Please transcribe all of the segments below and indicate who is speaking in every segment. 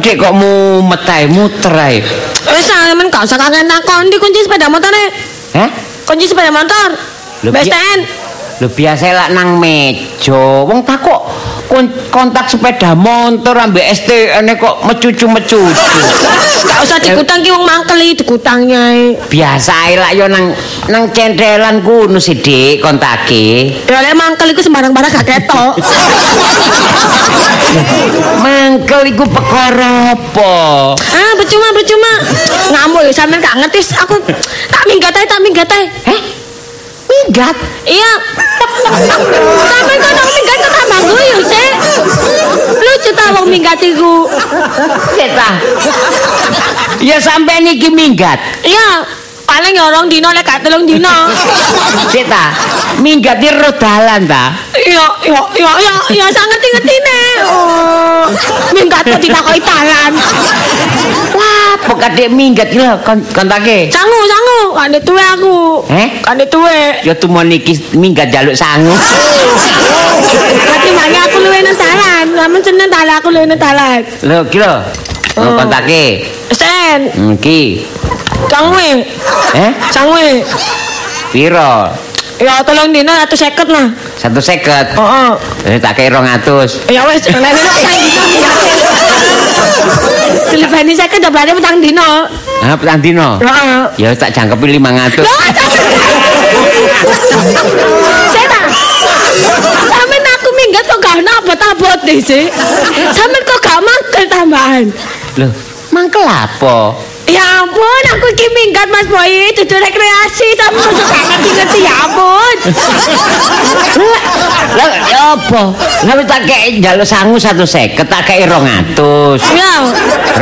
Speaker 1: Dik kok mumet ae, muter ae.
Speaker 2: Wis sampean gak usah kakek takon di kunci sepeda motore.
Speaker 1: Hah?
Speaker 2: Kunci sepeda motor.
Speaker 1: Lho, iya.
Speaker 2: BSTN.
Speaker 1: Lho biasa lak nang meja. Wong tak kok kon- kontak sepeda motor ambek STN kok mecucu-mecucu.
Speaker 2: Gak usah digutang ki wong mangkeli digutangnya.
Speaker 1: Biasa ae lak yo nang nang centelan kuno sih Dik kontake.
Speaker 2: Ya lek mangkel iku sembarang barang gak ketok.
Speaker 1: Mangkel iku perkara apa?
Speaker 2: ah, percuma percuma. Ngamuk ya sampean gak ngerti aku tak minggat ae tak minggat ae.
Speaker 1: Heh? Minggat.
Speaker 2: Iya. Sampai kok nang minggat kok tambah guyu sih. Lucu ta wong minggat iku.
Speaker 1: Cetah. ya sampean iki minggat.
Speaker 2: Iya, paling ya orang dino lek gak telung dino.
Speaker 1: Cetah. Minggat iki rodalan ta.
Speaker 2: Iya, iya, iya, iya, iya, saya ngerti-ngertine. Oh. Minggat kok ditakoki talan.
Speaker 1: Wah, pokadek minggat iki lho kon kontake.
Speaker 2: Sangu, sangu, kan tuwe aku.
Speaker 1: Eh?
Speaker 2: Kan tuwe.
Speaker 1: Ya tumon iki minggat jaluk sangu.
Speaker 2: Berarti makanya aku luwe nang talan. Sampeyan seneng talan aku luwe nang talan.
Speaker 1: Lho iki lho. Lho
Speaker 2: Oh.
Speaker 1: kontake.
Speaker 2: Sen,
Speaker 1: Hmm, Iki.
Speaker 2: sangu.
Speaker 1: Eh?
Speaker 2: Sangu.
Speaker 1: Piro?
Speaker 2: Ya tolong dino 150 lah.
Speaker 1: 150.
Speaker 2: Heeh.
Speaker 1: Eh tak kei 200.
Speaker 2: Ya wis, lek lek sang dino ya. Selebani saya kan berani petang dino.
Speaker 1: Ah, petang dino.
Speaker 2: Heeh.
Speaker 1: Ya tak jangkepi 500.
Speaker 2: Loh, saya tak. Sampeyan aku minggat kok gak ono abot-abot deh sih. Sampeyan kok gak mangkel tambahan.
Speaker 1: Loh, mangkel apa?
Speaker 2: Ya ampun, aku iki minggat Mas Boy, dudu rekreasi tapi kok gak ngerti-ngerti ya ampun.
Speaker 1: Lah ya apa? Lah wis tak kei njaluk sangu 150, tak kei 200.
Speaker 2: Ya.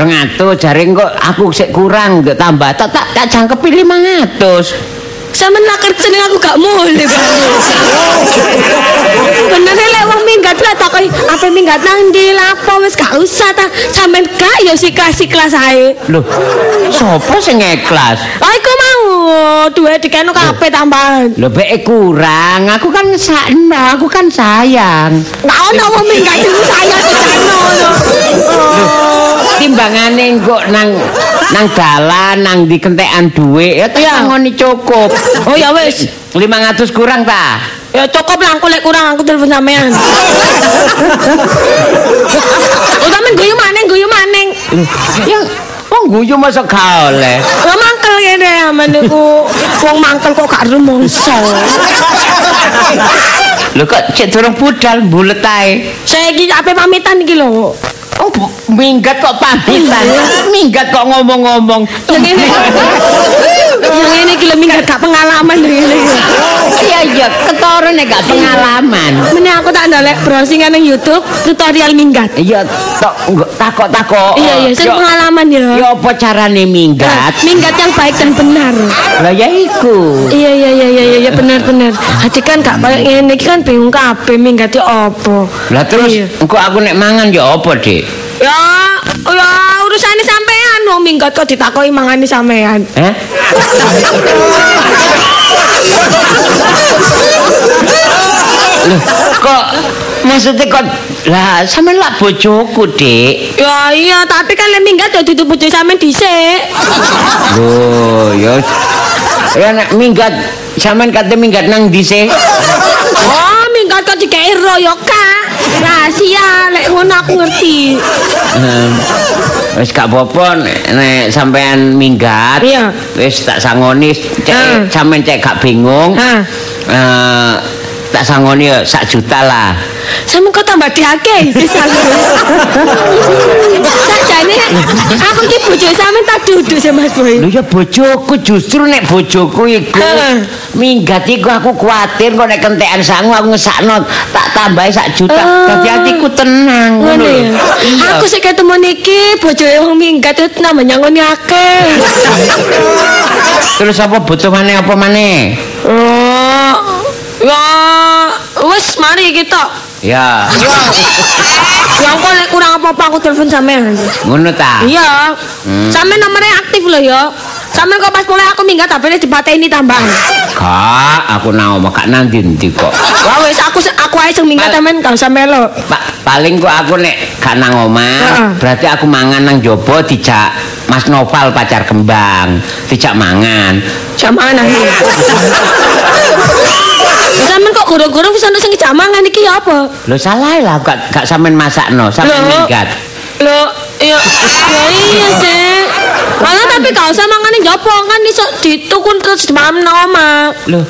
Speaker 1: 200 jaring kok aku sik kurang nggak tambah. Tak tak tak jangkepi 500.
Speaker 2: Sampeyan lah kerja ning aku gak mulih, Bang. Bener lek wong minggat lah takoki, ape minggat nang ndi lapo wis gak usah ta. Sampeyan gak ya sikasi kelas ae.
Speaker 1: Loh, sapa sing ikhlas?
Speaker 2: Ah iku mau duwe dikeno kabeh tambahan.
Speaker 1: Lho beke kurang, aku kan ngesakno, aku kan sayang.
Speaker 2: Gak ono wong minggat iku saya dikeno lho.
Speaker 1: Timbangane kok nang nang dalan, nang dikentekan dhuwit, ya tak
Speaker 2: Iya.
Speaker 1: ngoni cukup.
Speaker 2: Oh ya wis.
Speaker 1: 500 kurang ta?
Speaker 2: Ya cukup lah aku lek kurang aku telepon sampean. Oh sampean guyu maning guyu maning.
Speaker 1: Ya wong guyu masa gak oleh.
Speaker 2: Lah mangkel kene aman niku. Wong mangkel kok gak rumangsa.
Speaker 1: Lho kok cek durung budal bulet ae.
Speaker 2: Saya iki ape pamitan iki lho.
Speaker 1: Oh, bu- minggat kok pamitan. Minggat kok ngomong-ngomong.
Speaker 2: Yang ini. Yang ini iki lho minggat gak pengalaman lho ini.
Speaker 1: Iya iya, ketara nek gak pengalaman.
Speaker 2: Mene aku tak ndolek browsing nang YouTube tutorial minggat.
Speaker 1: Iya, tok nggo- takok-takok.
Speaker 2: Iya iya, sing
Speaker 1: Yo-
Speaker 2: pengalaman ya.
Speaker 1: Ya apa carane
Speaker 2: Nah,
Speaker 1: minggat?
Speaker 2: Minggat yang baik dan benar.
Speaker 1: Lah ya iku.
Speaker 2: Iya iya iya iya iya benar benar. Hati kan gak kayak ngene iki kan bingung kabeh minggat ya apa.
Speaker 1: Lah terus
Speaker 2: Iya.
Speaker 1: engko aku nek mangan ya apa, Dik?
Speaker 2: Ya, ya urusane sampean wong minggat kok ditakoki mangane sampean.
Speaker 1: Hah? Loh, kok maksudnya kok lah sama lah bojoku dik
Speaker 2: Ya iya, tapi kan lek minggat ya ditutup bojo sampean dhisik.
Speaker 1: Loh, ya ya nek minggat sampean kate minggat nang ndi sih
Speaker 2: Oh, minggat kok dikei ro ya kak. Rahasia lek ngono aku ngerti.
Speaker 1: Ehm, wis gak apa-apa nek- nek sampean minggat
Speaker 2: Iya.
Speaker 1: wis tak sangoni
Speaker 2: Ah.
Speaker 1: cek sampean cek gak bingung
Speaker 2: Ah.
Speaker 1: Eh, tak sangoni ya sak juta lah
Speaker 2: Sampe kok tambah diake sisan. Sajane aku iki bojo sampean tak duduk sih Mas Boy.
Speaker 1: Lho ya bojoku justru nek bojoku iku
Speaker 2: Heeh.
Speaker 1: minggat iku aku kuatir kok nek kentekan sangu aku ngesakno tak tambahi sak juta
Speaker 2: Ah.
Speaker 1: dadi atiku tenang ngono
Speaker 2: Ngono
Speaker 1: lho.
Speaker 2: ya.
Speaker 1: Iya.
Speaker 2: Aku sik ketemu niki bojoe wong minggat itu namanya ngoni akeh.
Speaker 1: Terus apa butuh maneh apa maneh?
Speaker 2: Oh. Ya wis mari kita.
Speaker 1: Ya,
Speaker 2: Ya kok lek kurang apa-apa aku telepon sampean.
Speaker 1: ngono ta.
Speaker 2: Iya. Sampean nomornya aktif lho ya. Sampean kok pas mulai aku minggat HP-ne dipateni tambah.
Speaker 1: Kak, aku nang omah kak nanti ndi kok.
Speaker 2: Wah Ya, wis aku aku ae sing minggat sampean gak usah melo.
Speaker 1: Pak, paling kok aku nek gak nang omah,
Speaker 2: Heeh.
Speaker 1: berarti aku mangan nang jopo dijak Mas Noval pacar kembang, dijak mangan.
Speaker 2: Jamaan ae. Sampeyan kok gorong-gorong wis ana sing jamangan iki ya apa?
Speaker 1: Lho salah lah gak gak sampean masakno, sampean
Speaker 2: Lho.
Speaker 1: minggat.
Speaker 2: Lho, ya ya iya sih. Malah tapi gak usah mangane jopo kan iso ditukun terus dimakan nang omah.
Speaker 1: Lho.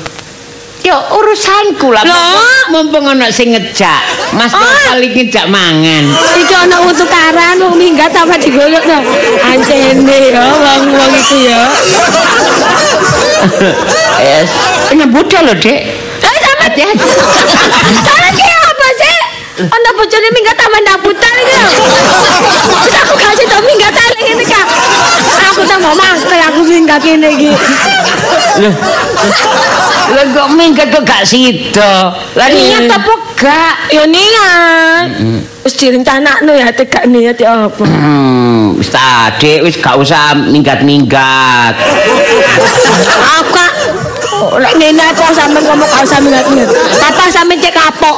Speaker 1: Ya urusanku lah.
Speaker 2: Lho.
Speaker 1: mumpung- Mumpung ana sing ngejak, Mas
Speaker 2: Ah.
Speaker 1: Noval iki njak mangan.
Speaker 2: Iki ana utukaran wong minggat apa digolok to. Ancene ya wong-wong itu ya.
Speaker 1: Yes. Nyebut lho, Dek.
Speaker 2: Eh sampean
Speaker 1: Hati-hati.
Speaker 2: Salah ki apa sih? Ana bojone minggat taman nabutan iki lho. Terus aku kasih tau minggat ae ngene ka. Aku tambah mangkel aku minggat kene iki.
Speaker 1: Lho kok minggat kok gak sida. Lah niat
Speaker 2: Iya.
Speaker 1: apa gak?
Speaker 2: Ya niat. Wis direncanakno ya tegak niat ya apa.
Speaker 1: Hmm, wis tadi wis gak usah minggat-minggat.
Speaker 2: Aku kak Lek ngene Oh, aku sampean ngomong gak usah minggat-minggat. Papa sampean cek kapok.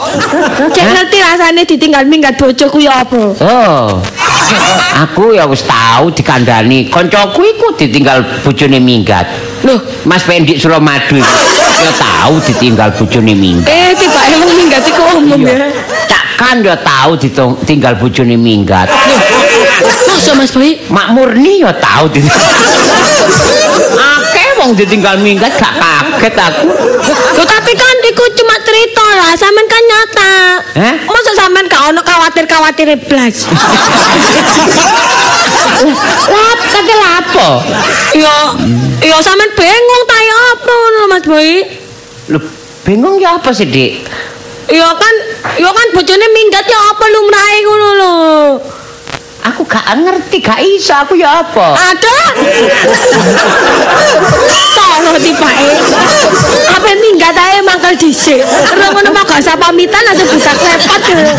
Speaker 2: Cek ngerti rasane ditinggal minggat bojoku ya apa.
Speaker 1: Oh. Aku ya wis tahu dikandani kancaku iku ditinggal bojone minggat.
Speaker 2: Loh,
Speaker 1: Mas Pendik Suramadu iku ya tahu ditinggal bojone minggat.
Speaker 2: eh tiba emang minggat iku umum ya.
Speaker 1: Cak kan ya tahu ditinggal bojone minggat.
Speaker 2: Masa Mas Boy?
Speaker 1: Mak Murni ya tahu ditinggal. Akeh wong ditinggal minggat gak kaget aku.
Speaker 2: Loh, tapi kan iku cuma cerita lah, sampean kan nyata.
Speaker 1: Heh?
Speaker 2: Masa sampean gak ono khawatir-khawatir blas.
Speaker 1: Lap, kate lapo?
Speaker 2: Yo, yo sampean bengong ta ya apa ngono Mas Boy?
Speaker 1: Lho, bingung ya apa sih, Dik?
Speaker 2: Yo kan, yo kan bojone minggat ya apa lumrahe ngono lho.
Speaker 1: Aku gak ngerti, gak iso aku ya apa.
Speaker 2: Ada. Toro tibake. Apa minggat ae mangkel dhisik. Terus ngono mah gak usah pamitan atau bisa klepot. ya.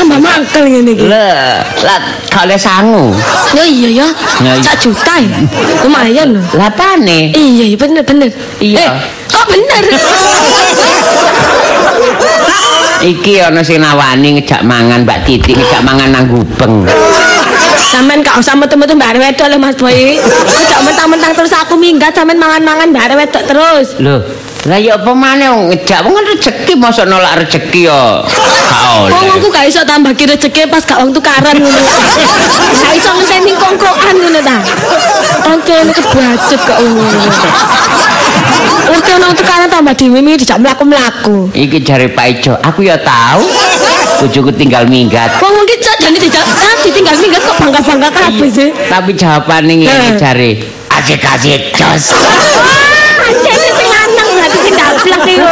Speaker 2: Tambah mangkel ngene iki.
Speaker 1: Lah, lah gak oleh sangu.
Speaker 2: Ya iya ya.
Speaker 1: Ya, iya.
Speaker 2: Sak juta ya. Lumayan loh.
Speaker 1: Lah pane?
Speaker 2: Iya, iya bener bener.
Speaker 1: Iya.
Speaker 2: Eh, kok bener?
Speaker 1: Iki ana sing nawani ngejak mangan Mbak Titi, ngejak mangan nang gubeng.
Speaker 2: Sampean gak usah metu-metu mbak Arek wedok lho Mas Boy. Ojo mentang-mentang terus aku minggat sampean mangan-mangan mbak Arek wedok terus.
Speaker 1: Loh, lah ya apa maneh wong ngejak wong kan rejeki mosok nolak rejeki ya. Gak
Speaker 2: Wong
Speaker 1: oleh.
Speaker 2: aku gak iso tambah ki rezeki pas gak wong tukaran ngono. Gak iso ngenteni kongkokan ngono ta. Oke, ini kebajet kok ngono. Oke, nang tukaran tambah dhewe mi dijak mlaku-mlaku.
Speaker 1: Iki jare Pak Ijo, aku ya tahu. Bojoku tinggal minggat.
Speaker 2: Wong mungkin cok jane dijak ah, ditinggal minggat kok bangga-bangga kabeh sih.
Speaker 1: Tapi jawabane ngene
Speaker 2: Eh.
Speaker 1: jare, asik-asik jos.
Speaker 2: Wah, cewek sing lanang berarti sing dablek iku.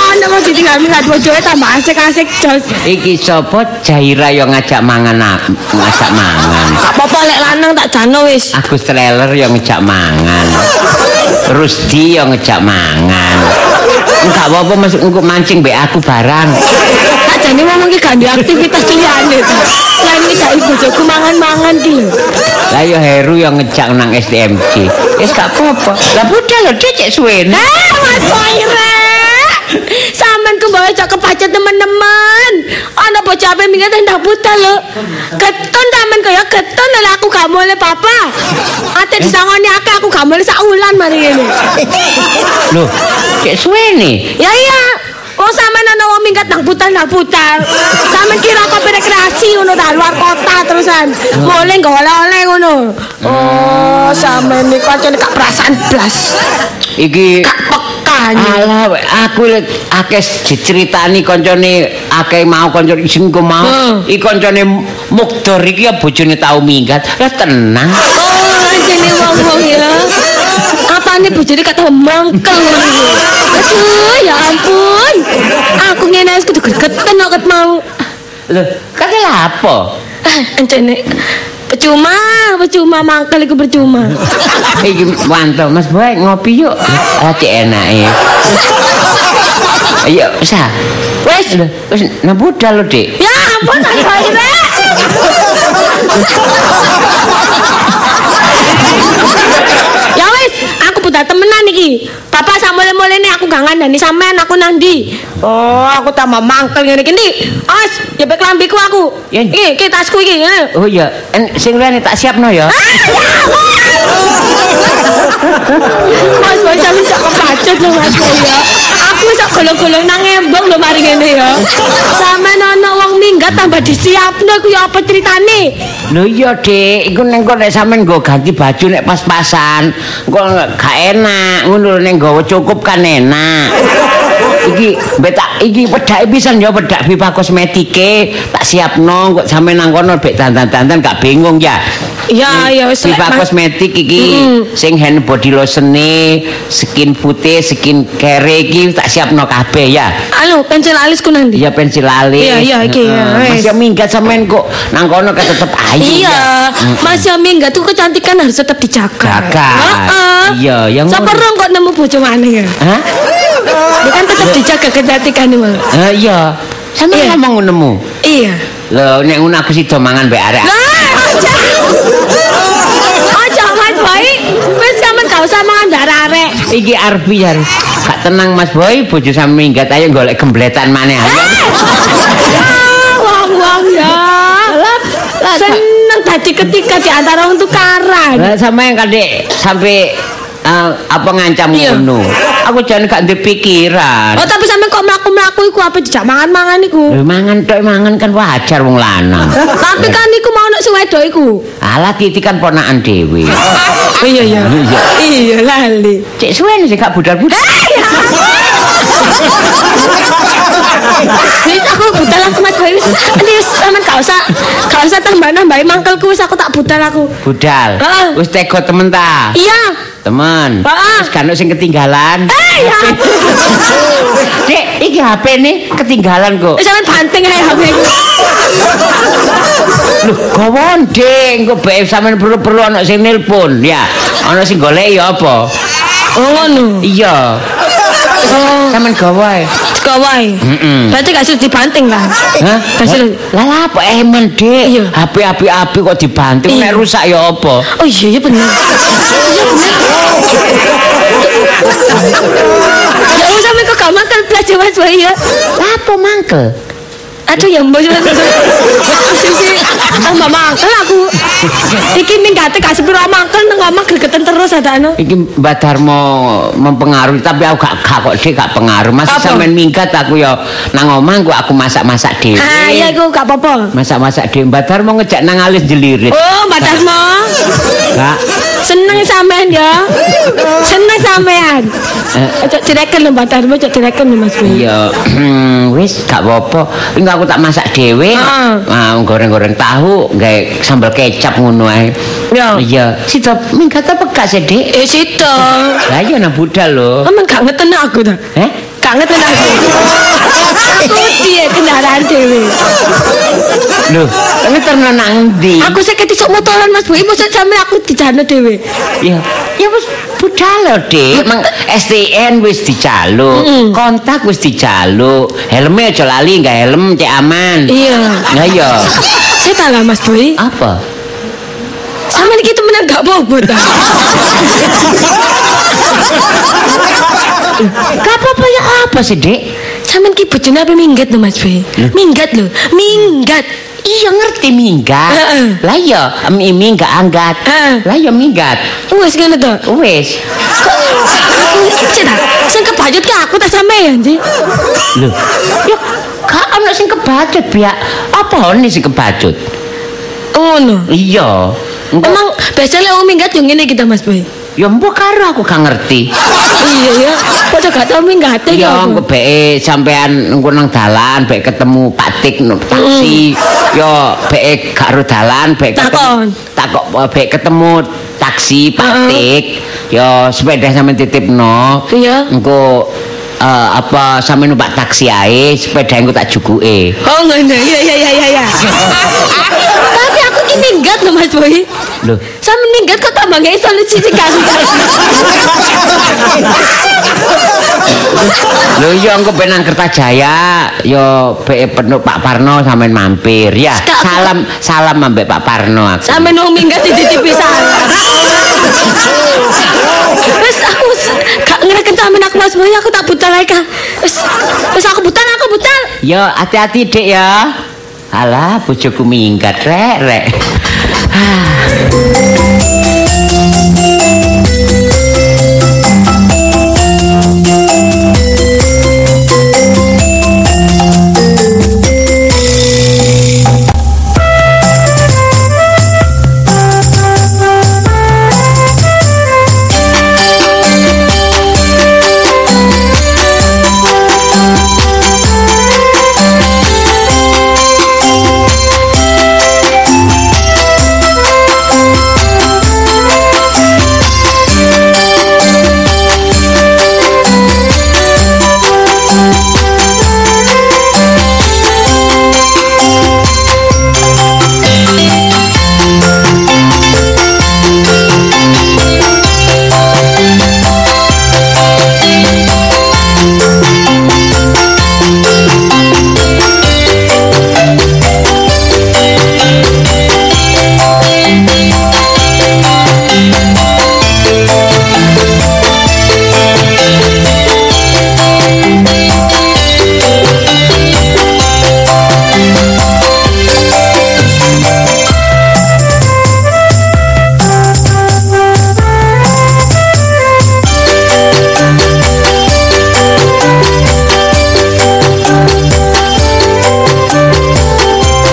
Speaker 2: Oh, nek mau ditinggal minggat bojoe tambah asik-asik jos.
Speaker 1: Iki sapa Jaira yang ngajak mangan aku, ngajak mangan.
Speaker 2: Gak apa-apa lek lanang tak jano wis.
Speaker 1: Aku Treler yang ngejak mangan. Rusdi yang ngejak mangan. Enggak apa-apa Mas engko mancing mbek aku barang.
Speaker 2: Tak jane wong iki gak duwe aktivitas liyane ta. Lah iki gak bojoku mangan-mangan ki lho.
Speaker 1: Lah ya Heru yang ngejak nang SDMC. Wis gak apa-apa. Lah budal lho Dek, cek suwene.
Speaker 2: Eh, Mas Boyre. Sampeyan ku bawa cok kepacet teman-teman. Ana bocah ape minggat ndak buta lho. Ketun tamen kaya ketun lho aku gak boleh papa. Ate disangoni akeh aku gak boleh sak wulan mari ngene.
Speaker 1: Loh, cek suwene.
Speaker 2: Ya iya. Wong sampean ana wong minggat nang putar nang putar. Sampean kira kok rekreasi ngono ta luar kota terusan. Boleh nggak oleh-oleh ngono. Oh, sampean niku pancen gak perasaan blas.
Speaker 1: Iki
Speaker 2: Gak pekane.
Speaker 1: Alah, we- aku liat akeh diceritani koncone akeh mau koncone sing ku mau.
Speaker 2: Hmm.
Speaker 1: I koncone Mukdor iki ya bojone tau minggat. Lah tenang.
Speaker 2: Oh, jene wong-wong ya. Apane bojone kata mangkel ngono. iki. Aduh, ya ampun. Aku ngene wis kudu gregeten kok ket mau.
Speaker 1: Loh, kate lapo?
Speaker 2: Encene percuma, percuma mangkel iku percuma.
Speaker 1: Iki mantap Mas Boy ngopi yuk. Ati enak ya. Ayo, usah. Wes, lho, wes nabudal lho, Dik.
Speaker 2: Ya ampun Mas Boyre. Ya wis, aku udah temenan iki. Papa sak mule-mulene aku gak ngandani sampean aku nang ndi. Oh, aku tambah mangkel ngene iki. Ndi, Os, jebek lambiku aku.
Speaker 1: Yen.
Speaker 2: Iki, iki tasku iki. eh.
Speaker 1: Oh iya, En- sing liyane tak siapno ya.
Speaker 2: Mas, mas, aku bisa kepacet loh mas ya. Aku bisa golong-golong nang embong loh mari ngene ya. Sama nono wong minggat tambah disiapno ku ya apa ceritane?
Speaker 1: Lho iya, Dik, iku ning kok nek sampean nggo ganti baju nek pas-pasan, kok nggak- gak enak, ngono lho, ning nggawa cukup kan enak. iki mbek tak iki pedhake pisan ya pedak pipa kosmetike tak siapno kok sampean nang kono bek dandan-dandan gak bingung ya.
Speaker 2: Ya, ya wis
Speaker 1: Pipa
Speaker 2: Mas.
Speaker 1: kosmetik iki sing hand body lotion skin putih, skin care iki tak siapno kabeh ya.
Speaker 2: Anu, pensil alisku nang ndi?
Speaker 1: Iya pensil alis.
Speaker 2: Iya, iya, iki,
Speaker 1: Heeh.
Speaker 2: ya, wis.
Speaker 1: Masih minggat sampean kok nang kono kan tetep ayu. ya.
Speaker 2: Iya, Mas ya minggat tuh kecantikan harus tetap dijaga.
Speaker 1: Jaga.
Speaker 2: Heeh.
Speaker 1: Iya, yang ngono.
Speaker 2: Sapa rong kok nemu bojo maneh ya?
Speaker 1: Hah?
Speaker 2: Dia kan tetap dijaga kecantikan Mas.
Speaker 1: Eh, iya. Sampe
Speaker 2: Iya.
Speaker 1: ngomong ngono.
Speaker 2: Iya.
Speaker 1: Lho nek ngono aku sida mangan mbek arek.
Speaker 2: Lah, aja. Aja mas baik. Wis sampean gak usah mangan arek.
Speaker 1: Iki Arbi ya. Gak tenang Mas Boy, bojo sampe minggat ayo golek gembletan maneh. ayo.
Speaker 2: Wong-wong Ah, ya. Seneng tadi ketika di antara wong tukaran.
Speaker 1: Lah sama yang kadek sampe eh, apa ngancam
Speaker 2: Iya.
Speaker 1: ngono. Aku jan gak ndek pikiran.
Speaker 2: Oh tapi sampe kok mlaku-mlaku iku apa dijak mangan-mangan iku.
Speaker 1: Lho mangan tok mangan kan wajar wong lanang.
Speaker 2: Tapi kan iku mau nek suwedo iku.
Speaker 1: Alah titi kan ponakan dhewe.
Speaker 2: Iya ya.
Speaker 1: Iya.
Speaker 2: Iya lali.
Speaker 1: Cek suwen sih gak budal-budal.
Speaker 2: Wis aku butal aku Mas Bayu. Ini wis sampean gak usah gak usah tambah-nambahi mangkelku wis aku tak butal aku.
Speaker 1: Budal.
Speaker 2: Heeh.
Speaker 1: Wis tega temen ta?
Speaker 2: Iya.
Speaker 1: Temen.
Speaker 2: Heeh.
Speaker 1: Wis kan sing ketinggalan.
Speaker 2: Eh ya.
Speaker 1: Dek, iki HP ne ketinggalan kok.
Speaker 2: Wis sampean banting ae HP ku.
Speaker 1: Lho, gawon, Dek, engko bae sampean perlu-perlu ana sing nelpon, ya. Ana sing golek ya apa?
Speaker 2: Oh ngono.
Speaker 1: Iya. Sampean gawa ae.
Speaker 2: Kawai.
Speaker 1: Mm-mm.
Speaker 2: Berarti gak sudah dibanting lah.
Speaker 1: Hah?
Speaker 2: Gak sudah.
Speaker 1: Lah lah apa emen, Dek?
Speaker 2: Iya.
Speaker 1: HP HP HP kok dibanting
Speaker 2: Iya.
Speaker 1: nek rusak ya apa?
Speaker 2: Oh iya iya bener. Iya bener. Ya wis sampe kok gak mangkel blas ya Mas Bayu ya.
Speaker 1: Lah apa mangkel?
Speaker 2: Aduh ya mbok yo. Sisi tambah mangkel aku. Iki minggate gak sepiro mangkel nang omah gregeten terus anu. adakno.
Speaker 1: Iki Mbak Darmo mempengaruhi tapi aku gak gak kok sih gak pengaruh. Masih
Speaker 2: Apa?
Speaker 1: sampean minggat aku ya nang omah aku aku masak-masak dhewe.
Speaker 2: Ah iya iku gak apa-apa.
Speaker 1: Masak-masak dhewe Mbak Darmo ngejak nang alis jelirit.
Speaker 2: Oh, Mbak Dasmo.
Speaker 1: Kak,
Speaker 2: Seneng sampean ya. Seneng sampean. Cok direken lho Mbak Dasmo, cok direken lho Mas Bayu.
Speaker 1: ya wis gak apa-apa. Engko aku tak masak dhewe.
Speaker 2: Heeh.
Speaker 1: Ah, goreng-goreng tahu gawe sambal kecap ngono ae.
Speaker 2: Ya.
Speaker 1: Iya, sida minggat apa gak sih, Dik?
Speaker 2: Eh situ.
Speaker 1: Lah iya nang budal lho.
Speaker 2: Aman gak ngeten aku ta.
Speaker 1: Eh?
Speaker 2: Kangen tenan aku. Aku piye kendaraan dhewe.
Speaker 1: Lho, ngeterno nang ndi?
Speaker 2: Aku sik ketisuk motoran Mas Bu, mosok sampe aku dijano dhewe.
Speaker 1: Ya, ya wis budal lho,
Speaker 2: Iya.
Speaker 1: Dik. Mang STN wis dijaluk, kontak wis dijaluk. Helme aja lali, enggak helm cek aman.
Speaker 2: Iya.
Speaker 1: Lah iya.
Speaker 2: Saya tak lah Mas Boy.
Speaker 1: Apa?
Speaker 2: Sama ini kita menang gak bobot ta.
Speaker 1: Gak apa-apa ya apa sih, Dik?
Speaker 2: Sama ini bojone apa minggat lho Mas Boy. Minggat lho, minggat.
Speaker 1: Iya ngerti minggat.
Speaker 2: Heeh.
Speaker 1: Lah iya, mi minggat angkat.
Speaker 2: Heeh.
Speaker 1: Lah iya minggat.
Speaker 2: Wes ngene to.
Speaker 1: Wis.
Speaker 2: Cek ta. Sing kebajut ke aku tak sampean sih.
Speaker 1: Lho, ya gak ono sing kebacut, Biak. Apa ono sing kebacut?
Speaker 2: Ngono.
Speaker 1: Iya. Engko
Speaker 2: Emang biasanya orang minggat yang ngene kita Mas Boy.
Speaker 1: ya mbok karo aku gak ngerti.
Speaker 2: Iya ya. Kok gak tau minggat e iki
Speaker 1: Ya
Speaker 2: aku.
Speaker 1: engko beke sampean engko nang dalan bek ketemu Pak Tik no taksi. Yo beke gak ro dalan bek
Speaker 2: Hmm. Takon.
Speaker 1: ketemu takok bek ketemu taksi Pak
Speaker 2: Heeh.
Speaker 1: Tik. Yo sepeda sampean titipno.
Speaker 2: Iya.
Speaker 1: Engko eh, apa sampean numpak taksi ae, sepeda engko tak jukuke.
Speaker 2: Oh ngono. Iya iya iya iya. Tapi aku Iki minggat lho Mas Boy.
Speaker 1: Lho.
Speaker 2: Sampe minggat kok tambah gak iso lucu sih kan.
Speaker 1: Lho iya engko penang Kertajaya, yo PE penuh Pak Parno sampean mampir ya.
Speaker 2: Stop.
Speaker 1: Salam salam ambek Pak Parno aku.
Speaker 2: Sampe nung minggat dititipi salah. Wes aku s- gak ngereken sampean aku Mas Boy, aku tak butal ae Kak. Wes wes aku butal, aku butal.
Speaker 1: Yo hati-hati Dek ya. Alah bojoku minggat rek rek.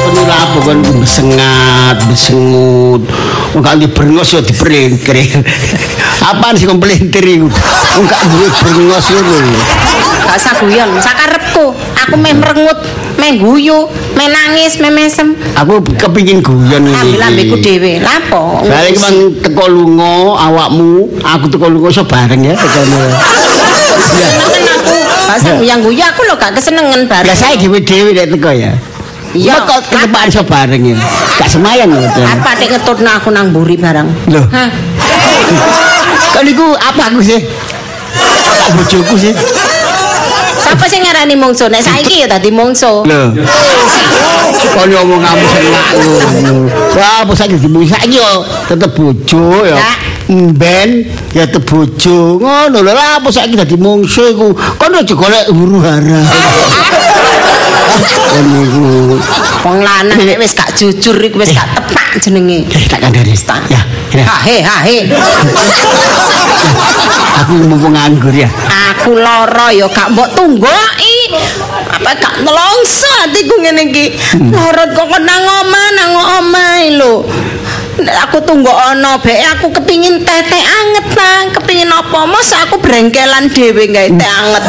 Speaker 3: Perlu lapo kan sengat, besengut. Enggak di brengos ya diperlingkir. Apaan sih kon pelintir iku? Enggak duwe brengos ngono lho.
Speaker 4: Gak usah guyon, sakarepku. Aku meh merengut, meh guyu, meh nangis, meh mesem.
Speaker 3: Aku kepingin guyon iki.
Speaker 4: Ambil-ambilku dhewe. Lapo?
Speaker 3: Hmm. Balik mang teko lunga awakmu, aku teko lunga iso bareng ya tekomu.
Speaker 4: Senengen aku. Gak usah guyon-guyu, aku lho gak kesenengen
Speaker 3: Ya
Speaker 4: bareng.
Speaker 3: saya dhewe-dhewe nek teko ya.
Speaker 4: Iya.
Speaker 3: Mek kok ketepakan iso bareng ya. Gak semayan lho. Ten.
Speaker 4: Apa nek ngetutna aku nang mburi bareng?
Speaker 3: Loh.
Speaker 4: Hah?
Speaker 3: Kok niku apa aku sih? Tak bojoku sih.
Speaker 4: Sapa sing ngarani mungsu? Nek saiki ya dadi mungsu.
Speaker 3: Lho. Kok ngomong kamu selak ngono. Wah, apa saiki dimuji saiki yo tetep bojo yo.
Speaker 4: Lah.
Speaker 3: Mben ya tetep bojo. Ngono lho. Lah apa saiki dadi mungsu iku? Kon aja golek huru-hara. Ngono iku.
Speaker 4: Wong lanang nek wis gak jujur iku wis gak tepak jenenge.
Speaker 3: Eh, tak kandani. Ya, ya.
Speaker 4: Hahe hahe.
Speaker 3: Aku mumpung nganggur ya.
Speaker 4: Aku lara ya gak mbok tunggoki. Apa gak nelongso atiku ngene iki. Lara kok nang omah nang omah lho. Nek Aku tunggu ono beke aku kepingin teh-teh anget nang, kepingin apa masa aku brengkelan dhewe gawe teh anget.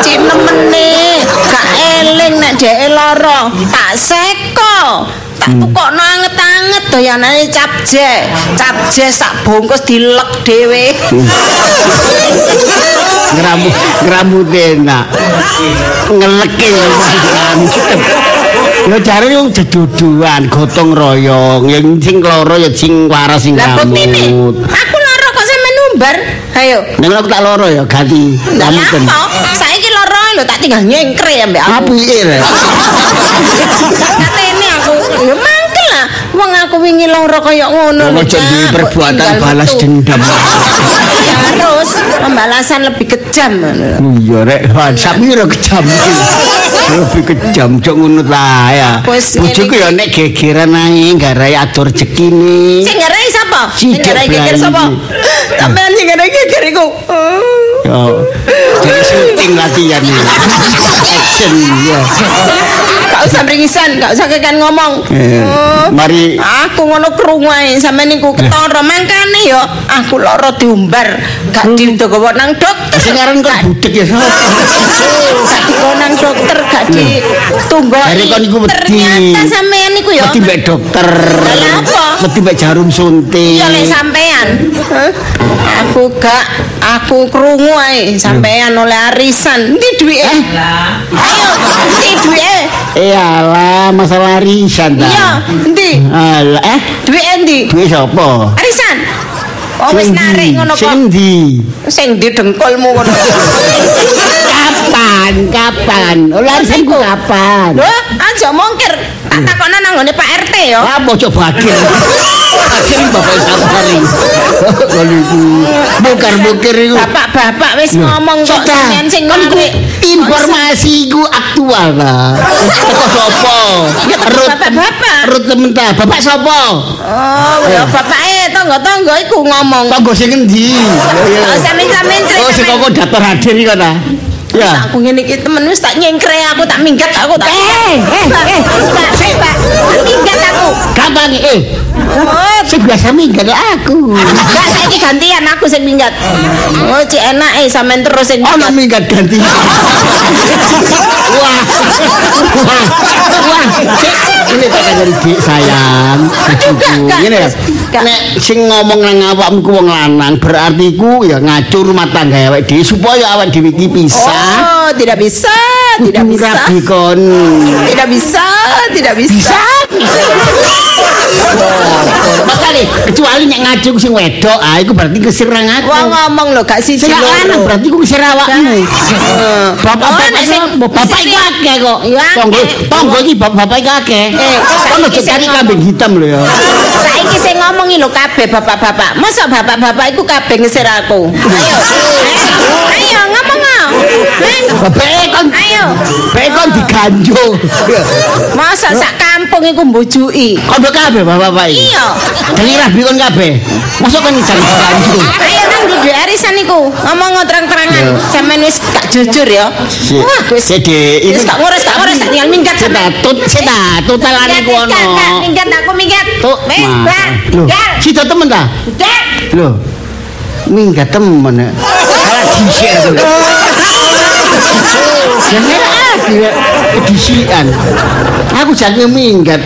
Speaker 4: Cinemene, gak eling nek dheke lara. Tak seko. Tak tukokno anget-anget doyanane capje. Capje sak bungkus dilek dhewe.
Speaker 3: Ngeramu ngeramut enak. Ngelekin ngeramut. Yo jare wong jeduduan, gotong royong, yang sing loro ya sing waras sing
Speaker 4: Lah butine,
Speaker 3: ngamut.
Speaker 4: aku lara kok sampe numbar. Ayo.
Speaker 3: Nek aku tak loro ya ganti
Speaker 4: Lah
Speaker 3: ngamuten.
Speaker 4: apa? Saiki lara lho tak tinggal nyengkre ambek aku.
Speaker 3: Apike lho.
Speaker 4: Katene aku, ya mangkel lah. Wong aku wingi lara kaya ngono. lho,
Speaker 3: Ojo
Speaker 4: Cak.
Speaker 3: duwe
Speaker 4: Kok
Speaker 3: perbuatan
Speaker 4: tinggal
Speaker 3: balas
Speaker 4: metu.
Speaker 3: dendam.
Speaker 4: Ya harus pembalasan lebih kejam.
Speaker 3: Iya rek, WhatsApp iki ora kejam. Lebih kejam jok ngono ta ya.
Speaker 4: Wes, ngene
Speaker 3: Bojoku ya nek gegeran ae garai atur rezekine.
Speaker 4: Sing ngerai sapa? Sing
Speaker 3: Sidik
Speaker 4: ngerai geger
Speaker 3: belayu.
Speaker 4: sapa? Sampeyan sing ngerai geger iku.
Speaker 3: Eh.
Speaker 4: Oh.
Speaker 3: Yo. Jadi syuting latihan ini. Action ya.
Speaker 4: Gak usah beringisan, gak usah kekan ngomong.
Speaker 3: Eh,
Speaker 4: Oh.
Speaker 3: Mari
Speaker 4: Aku ngono krungu ae sampe niku ketara mangkane ya aku lara diumbar
Speaker 3: Hmm.
Speaker 4: gak digowo nang dokter
Speaker 3: sing aran kok budek ya.
Speaker 4: Iya. gak digowo nang dokter gak ditunggu
Speaker 3: Hari kon iku wedi.
Speaker 4: ternyata sampean niku ya
Speaker 3: Mesti mbek dokter.
Speaker 4: Lah apa?
Speaker 3: Mesti mbek jarum suntik.
Speaker 4: ya oleh sampean Heh? aku gak aku krungu ae sampean oleh arisan ndi duwike ayo ndi duwike
Speaker 3: Eh alah, masalah arisan ta.
Speaker 4: Iya, endi?
Speaker 3: Alah, eh,
Speaker 4: Duit endi?
Speaker 3: duwe sapa?
Speaker 4: Arisan. Oh
Speaker 3: Sing
Speaker 4: wis narik
Speaker 3: ndi?
Speaker 4: ngono
Speaker 3: Sing
Speaker 4: kok.
Speaker 3: ndi?
Speaker 4: Sing di dengkulmu ngono.
Speaker 3: Kapan? Kapan? Olah arisan ku kapan?
Speaker 4: Lho, aja mongkir. Tak takokno nang ngone Pak RT ya.
Speaker 3: Apa Ah, coba akhir? Akhir bapak safari. Kalau iku bukar-bukir iku.
Speaker 4: Bapak-bapak wis ngomong kok
Speaker 3: Sudah,
Speaker 4: sampean sing
Speaker 3: kan ku
Speaker 4: narik.
Speaker 3: informasi ku aktual ta. Teko sapa?
Speaker 4: Ya, teko
Speaker 3: Rut-
Speaker 4: bapak-bapak.
Speaker 3: Rut temen ta. Bapak sapa?
Speaker 4: Oh, ya bapake tangga-tangga iku ngomong.
Speaker 3: Tonggo sing endi?
Speaker 4: Oh, sampean-sampean
Speaker 3: Oh, sing
Speaker 4: cerita.
Speaker 3: kok daftar hadir iki ta. Ya.
Speaker 4: Wis aku ngene iki temen wis tak nyengkre aku tak minggat aku tak. Eh, eh, eh, Pak, sik, Pak. Tak Minggat aku.
Speaker 3: Kapan iki? eh?
Speaker 4: Oh,
Speaker 3: Sing biasa minggat aku.
Speaker 4: Enggak, saiki gantian aku sing minggat. Oh, cek enake sampean terus sing
Speaker 3: Ana
Speaker 4: minggat.
Speaker 3: minggat ganti. Wah. Wah. Wah. Cik, Ini tak akan jadi dik sayang. Sejuku.
Speaker 4: Kak,
Speaker 3: Ini ya.
Speaker 4: Mas, Kak.
Speaker 3: Nek sing ngomong nang awakmu ku wong lanang berarti ku ya ngacu rumah tangga awake dhewe supaya awak dhewe iki pisah.
Speaker 4: Oh, tidak bisa, tidak
Speaker 3: kudu
Speaker 4: bisa.
Speaker 3: rabi kon.
Speaker 4: Tidak bisa, tidak bisa.
Speaker 3: Makane kecuali nek ngacu ku sing wedok, ah iku berarti keserang aku.
Speaker 4: Wong ngomong lho gak siji
Speaker 3: Sing
Speaker 4: loro.
Speaker 3: lanang berarti ku keserang awakmu.
Speaker 4: Heeh.
Speaker 3: Bapak
Speaker 4: Oh,
Speaker 3: bapak
Speaker 4: nek sing-
Speaker 3: sapa? bapak
Speaker 4: sing-
Speaker 3: iku akeh kok.
Speaker 4: Ya, akeh.
Speaker 3: Tonggo tonggo iki bapak bapak iku akeh.
Speaker 4: Eh,
Speaker 3: Kono
Speaker 4: saiki
Speaker 3: cari
Speaker 4: sing
Speaker 3: kambing hitam lho ya.
Speaker 4: Saiki sing ngomongi lho kabeh bapak-bapak. Masa bapak-bapak iku kabeh ngeser aku. Ayo. Ayo ngomong. ah. Neng.
Speaker 3: Bapak e kon
Speaker 4: Ayo.
Speaker 3: bapak e kon diganjul.
Speaker 4: Masa sak kampung iku mbujuki.
Speaker 3: Kondo kabeh bapak bapak iki.
Speaker 4: Iya.
Speaker 3: Deni rabi kon kabeh. Mosok kon ngejar diganjul.
Speaker 4: Ayo nang di arisan iku. Ngomong terang-terangan. Sampeyan wis gak jujur ya. Wah, wis.
Speaker 3: Sede
Speaker 4: Wis tak ngurus, tak ngurus, tak tinggal minggat sampean.
Speaker 3: Sedatut, sedatut alane ku ono.
Speaker 4: Minggat, minggat, Minggat aku minggat.
Speaker 3: Tuk,
Speaker 4: Wis, Mbak.
Speaker 3: Loh,
Speaker 4: Tinggal.
Speaker 3: sida temen ta?
Speaker 4: Udah.
Speaker 3: Loh. Minggat temen. ya. Salah dhisik aku. ya. Jangan aku ya disian. Aku jangan minggat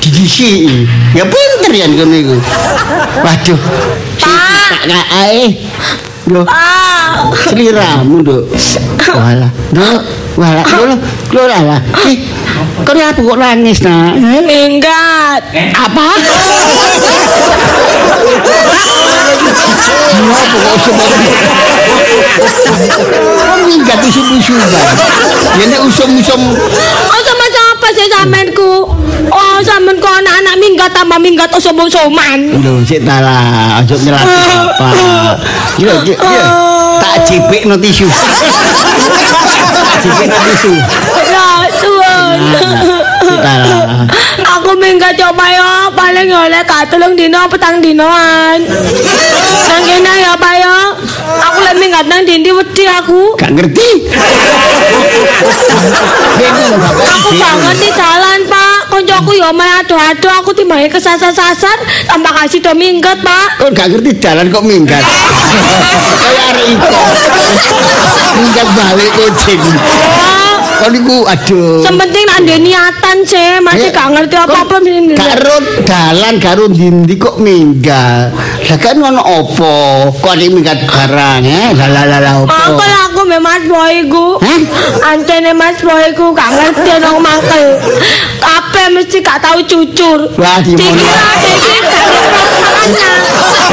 Speaker 3: didisi. Ya pinter ya ngono iku. Waduh.
Speaker 4: Pak.
Speaker 3: Tak kae. Loh.
Speaker 4: Ah.
Speaker 3: Seliramu, Nduk. Walah, Nduk. Walah, lho, lho lah. Eh, kenapa kok nangis, Nak?
Speaker 2: Minggat.
Speaker 3: Apa? Kenapa kok semua Kok minggat usum-usum, Bang? Ya nek usum-usum
Speaker 2: Oh sama siapa sih samenku? Oh samenku anak-anak minggat tambah minggat oh sombong-soman.
Speaker 3: Lho, sik ta lah, ojo nyelati apa. Yo, yo, yo. Tak jepikno tisu. Tak jepikno tisu.
Speaker 2: Ya suwun.
Speaker 3: Nah, sik ta lah.
Speaker 2: Aku minggat coba yo paling yo lek gak telung dino petang dinoan. Nang kene ya Pak yo. Aku lek minggat nang dindi wedi aku.
Speaker 3: Gak ngerti. Bingung bapak
Speaker 2: Aku
Speaker 3: bingung.
Speaker 2: banget di jalan Pak. Koncoku yo main adu-adu aku timbangi kesasar-sasar tanpa kasih do minggat Pak.
Speaker 3: Kok Oh, gak ngerti jalan kok minggat. Kayak arek iku. Minggat balik kucing.
Speaker 2: Oh,
Speaker 3: Kon niku aduh.
Speaker 2: Sementing nak ada niatan sih, masih gak ngerti apa-apa mending
Speaker 3: Iya. Gak
Speaker 2: dilihat.
Speaker 3: ero dalan karo ndi kok minggat. Lah kan ngono apa? Kok nek minggat barang eh lah lah lah lah
Speaker 2: Mangkel
Speaker 3: apa?
Speaker 2: aku me Mas Boy ku.
Speaker 3: Hah?
Speaker 2: Antene Mas Boy ku gak ngerti nang mangkel. Kabeh mesti gak tahu jujur.
Speaker 3: Wah, gimana?
Speaker 2: Dikira dikira gak ngerti masalahnya.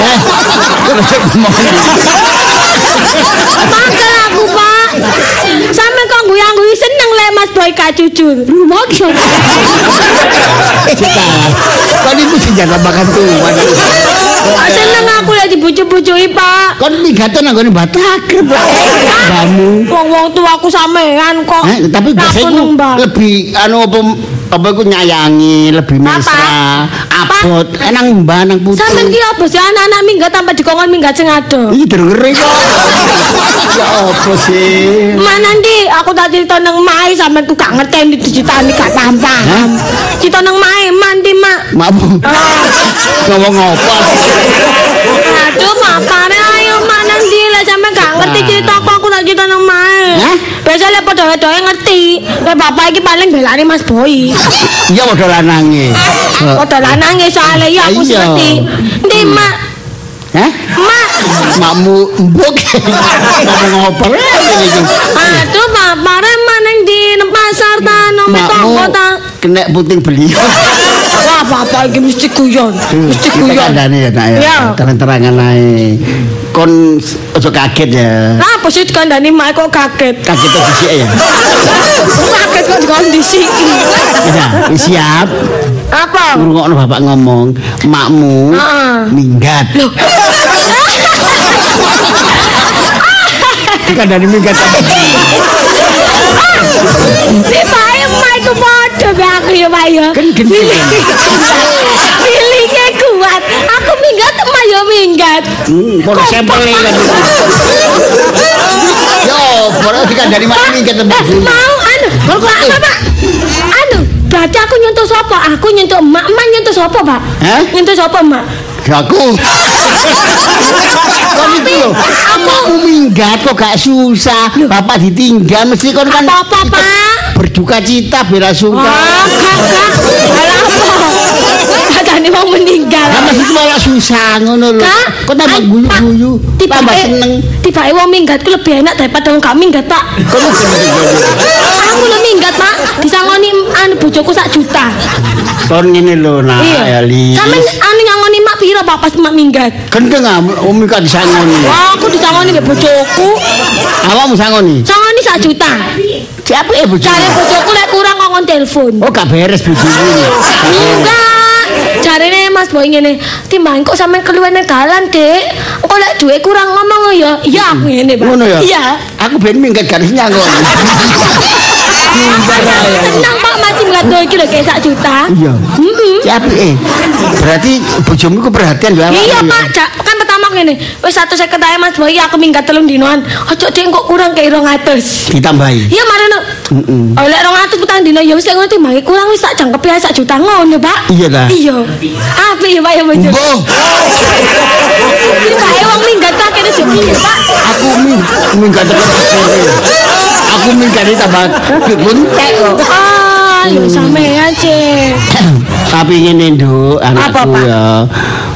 Speaker 3: Eh, kok bisa ngomong ini?
Speaker 2: Mangkel aku, Pak. Sampe kok nguyang-nguyi seneng le Mas Boy gak jujur. Rumakyo.
Speaker 3: Cita. Kon niku sing jaga makan tuan.
Speaker 2: Kok seneng aku le dibujuk-bujuki, Pak.
Speaker 3: Kon minggat nang gone batakrep. Bamu.
Speaker 2: Wong-wong tuaku sampean kok.
Speaker 3: Eh, tapi biasanya
Speaker 2: Aku
Speaker 3: ku
Speaker 2: nembak.
Speaker 3: lebih anu apa apa ku nyayangi lebih mesra
Speaker 2: Apa?
Speaker 3: abot enang mbah nang putih
Speaker 2: Sampeyan ki apa sih anak-anak minggat tanpa dikongkon minggat sing ado.
Speaker 3: iki durung ngeri kok ya apa sih
Speaker 2: Mana ndi aku tak cerita nang mai sampean ku gak ngerteni dicritani gak paham paham. Cerita nang mai mandi mak.
Speaker 3: mamu ngomong apa
Speaker 2: Aduh makane ayo mana ndi lah sampean gak ngerti
Speaker 3: Nah.
Speaker 2: cerita aku aku tak cerita nang mai.
Speaker 3: Hah?
Speaker 2: Biasa lek padha-padhae ngerti. Lek bapak iki paling belani Mas Boy.
Speaker 3: iya padha lanange
Speaker 2: Padha lanange soalnya iya aku
Speaker 3: Iya. Hmm.
Speaker 2: ngerti. Ndi mak?
Speaker 3: Hah?
Speaker 2: Mak.
Speaker 3: Mamu mbok ngomong apa lagi iki?
Speaker 2: Aduh papare mana ndi nang pasar ta nang
Speaker 3: Makmu
Speaker 2: tonggo ta.
Speaker 3: kena puting beliau.
Speaker 2: Wah, apa-apa iki mesti guyon. Mesti
Speaker 3: Hmm, Kita
Speaker 2: guyon.
Speaker 3: kandane ya nak ya.
Speaker 2: Ya.
Speaker 3: Terang-terangan ae. Kon ojo kaget ya.
Speaker 2: Apa sih kandhani mak kok kaget?
Speaker 3: Kaget tuh sisi ya.
Speaker 2: Kaget kok kondisi
Speaker 3: Ya, siap.
Speaker 2: Apa?
Speaker 3: Ngrungokno bapak ngomong, makmu
Speaker 2: Heeh.
Speaker 3: minggat. Dikandani minggat.
Speaker 2: Si Mae Mae ku padha be aku ya Mae ya.
Speaker 3: Gendeng.
Speaker 2: Pilihnya kuat. Aku minggat Mae ya minggat. Eh,
Speaker 3: Hmm, podo sampel iki kan. Yo, podo dikandani mak minggat
Speaker 2: Eh,
Speaker 3: tembus.
Speaker 2: mau anu, kalau kok apa, Pak? Anu, berarti aku nyentuh sapa? Aku nyentuh emak, emak nyentuh sapa, Pak?
Speaker 3: Hah?
Speaker 2: Nyentuh sapa, Mak?
Speaker 3: Aku. Kon iki lho. Aku minggat kok gak susah. Bapak ditinggal mesti kon kan
Speaker 2: Apa-apa, Pak?
Speaker 3: berduka cita bela sungkawa.
Speaker 2: Wah, kakak. Alah apa? Katanya mau meninggal.
Speaker 3: Lah mesti malah susah ngono lho.
Speaker 2: Kak,
Speaker 3: Kok tambah
Speaker 2: ay,
Speaker 3: guyu-guyu,
Speaker 2: Pak,
Speaker 3: tambah
Speaker 2: tibake-
Speaker 3: seneng.
Speaker 2: Tibake wong minggat ku lebih enak daripada wong gak minggat, Pak.
Speaker 3: Kamu bener-bener.
Speaker 2: Aku lu minggat, Pak. Disangoni anu bojoku sak juta.
Speaker 3: Kon ngene lho nah Ah, ya li.
Speaker 2: Sampe anu nyangoni mak piro, Pak, pas mak minggat?
Speaker 3: Gendeng ah, om iki gak disangoni.
Speaker 2: Wah, aku disangoni mbek bojoku.
Speaker 3: Awakmu sangoni.
Speaker 2: Sangoni sak juta.
Speaker 3: Siapa ibu?
Speaker 2: Jare bojoku lek kurang ngomong telepon.
Speaker 3: Oh gak beres bojomu.
Speaker 2: Enggak. Jarene Mas Boy ngene, timbang kok sampean keluwen dalan, Dek. Kok lek duwe kurang ngomong oh, ya. Iya aku ngene, Pak.
Speaker 3: Ngono ya?
Speaker 2: Iya.
Speaker 3: Aku ben minggat garis nyangkon.
Speaker 2: Tenang Pak masih ngeliat doi kilo kayak sak juta.
Speaker 3: Iya.
Speaker 2: Mm-hmm.
Speaker 3: Siapa eh? Berarti bojomu ku perhatian lho.
Speaker 2: Iya Pak, Ja- kan pertama ngene, wis 150 ae Mas Boy, aku minggat telung dinoan. Ojo dek kok kurang kayak 200.
Speaker 3: Ditambahi.
Speaker 2: Iya Oh, marane.
Speaker 3: Mm-mm.
Speaker 2: Oleh 200 petang dino ya wis lek ngono timbangi kurang wis tak jangkep ya sak juta ngono Pak.
Speaker 3: Iya lah.
Speaker 2: Iya. Apik ya Pak ya bojo.
Speaker 3: Boh,
Speaker 2: Kita wong minggat tak kene ya Pak.
Speaker 3: aku ming- minggat tekan sore. Aku minggat ini tambah buntek kok.
Speaker 2: Ah, ya sampean sih.
Speaker 3: Tapi ngene, Nduk,
Speaker 2: Apa,
Speaker 3: anakku
Speaker 2: Pak?
Speaker 3: ya.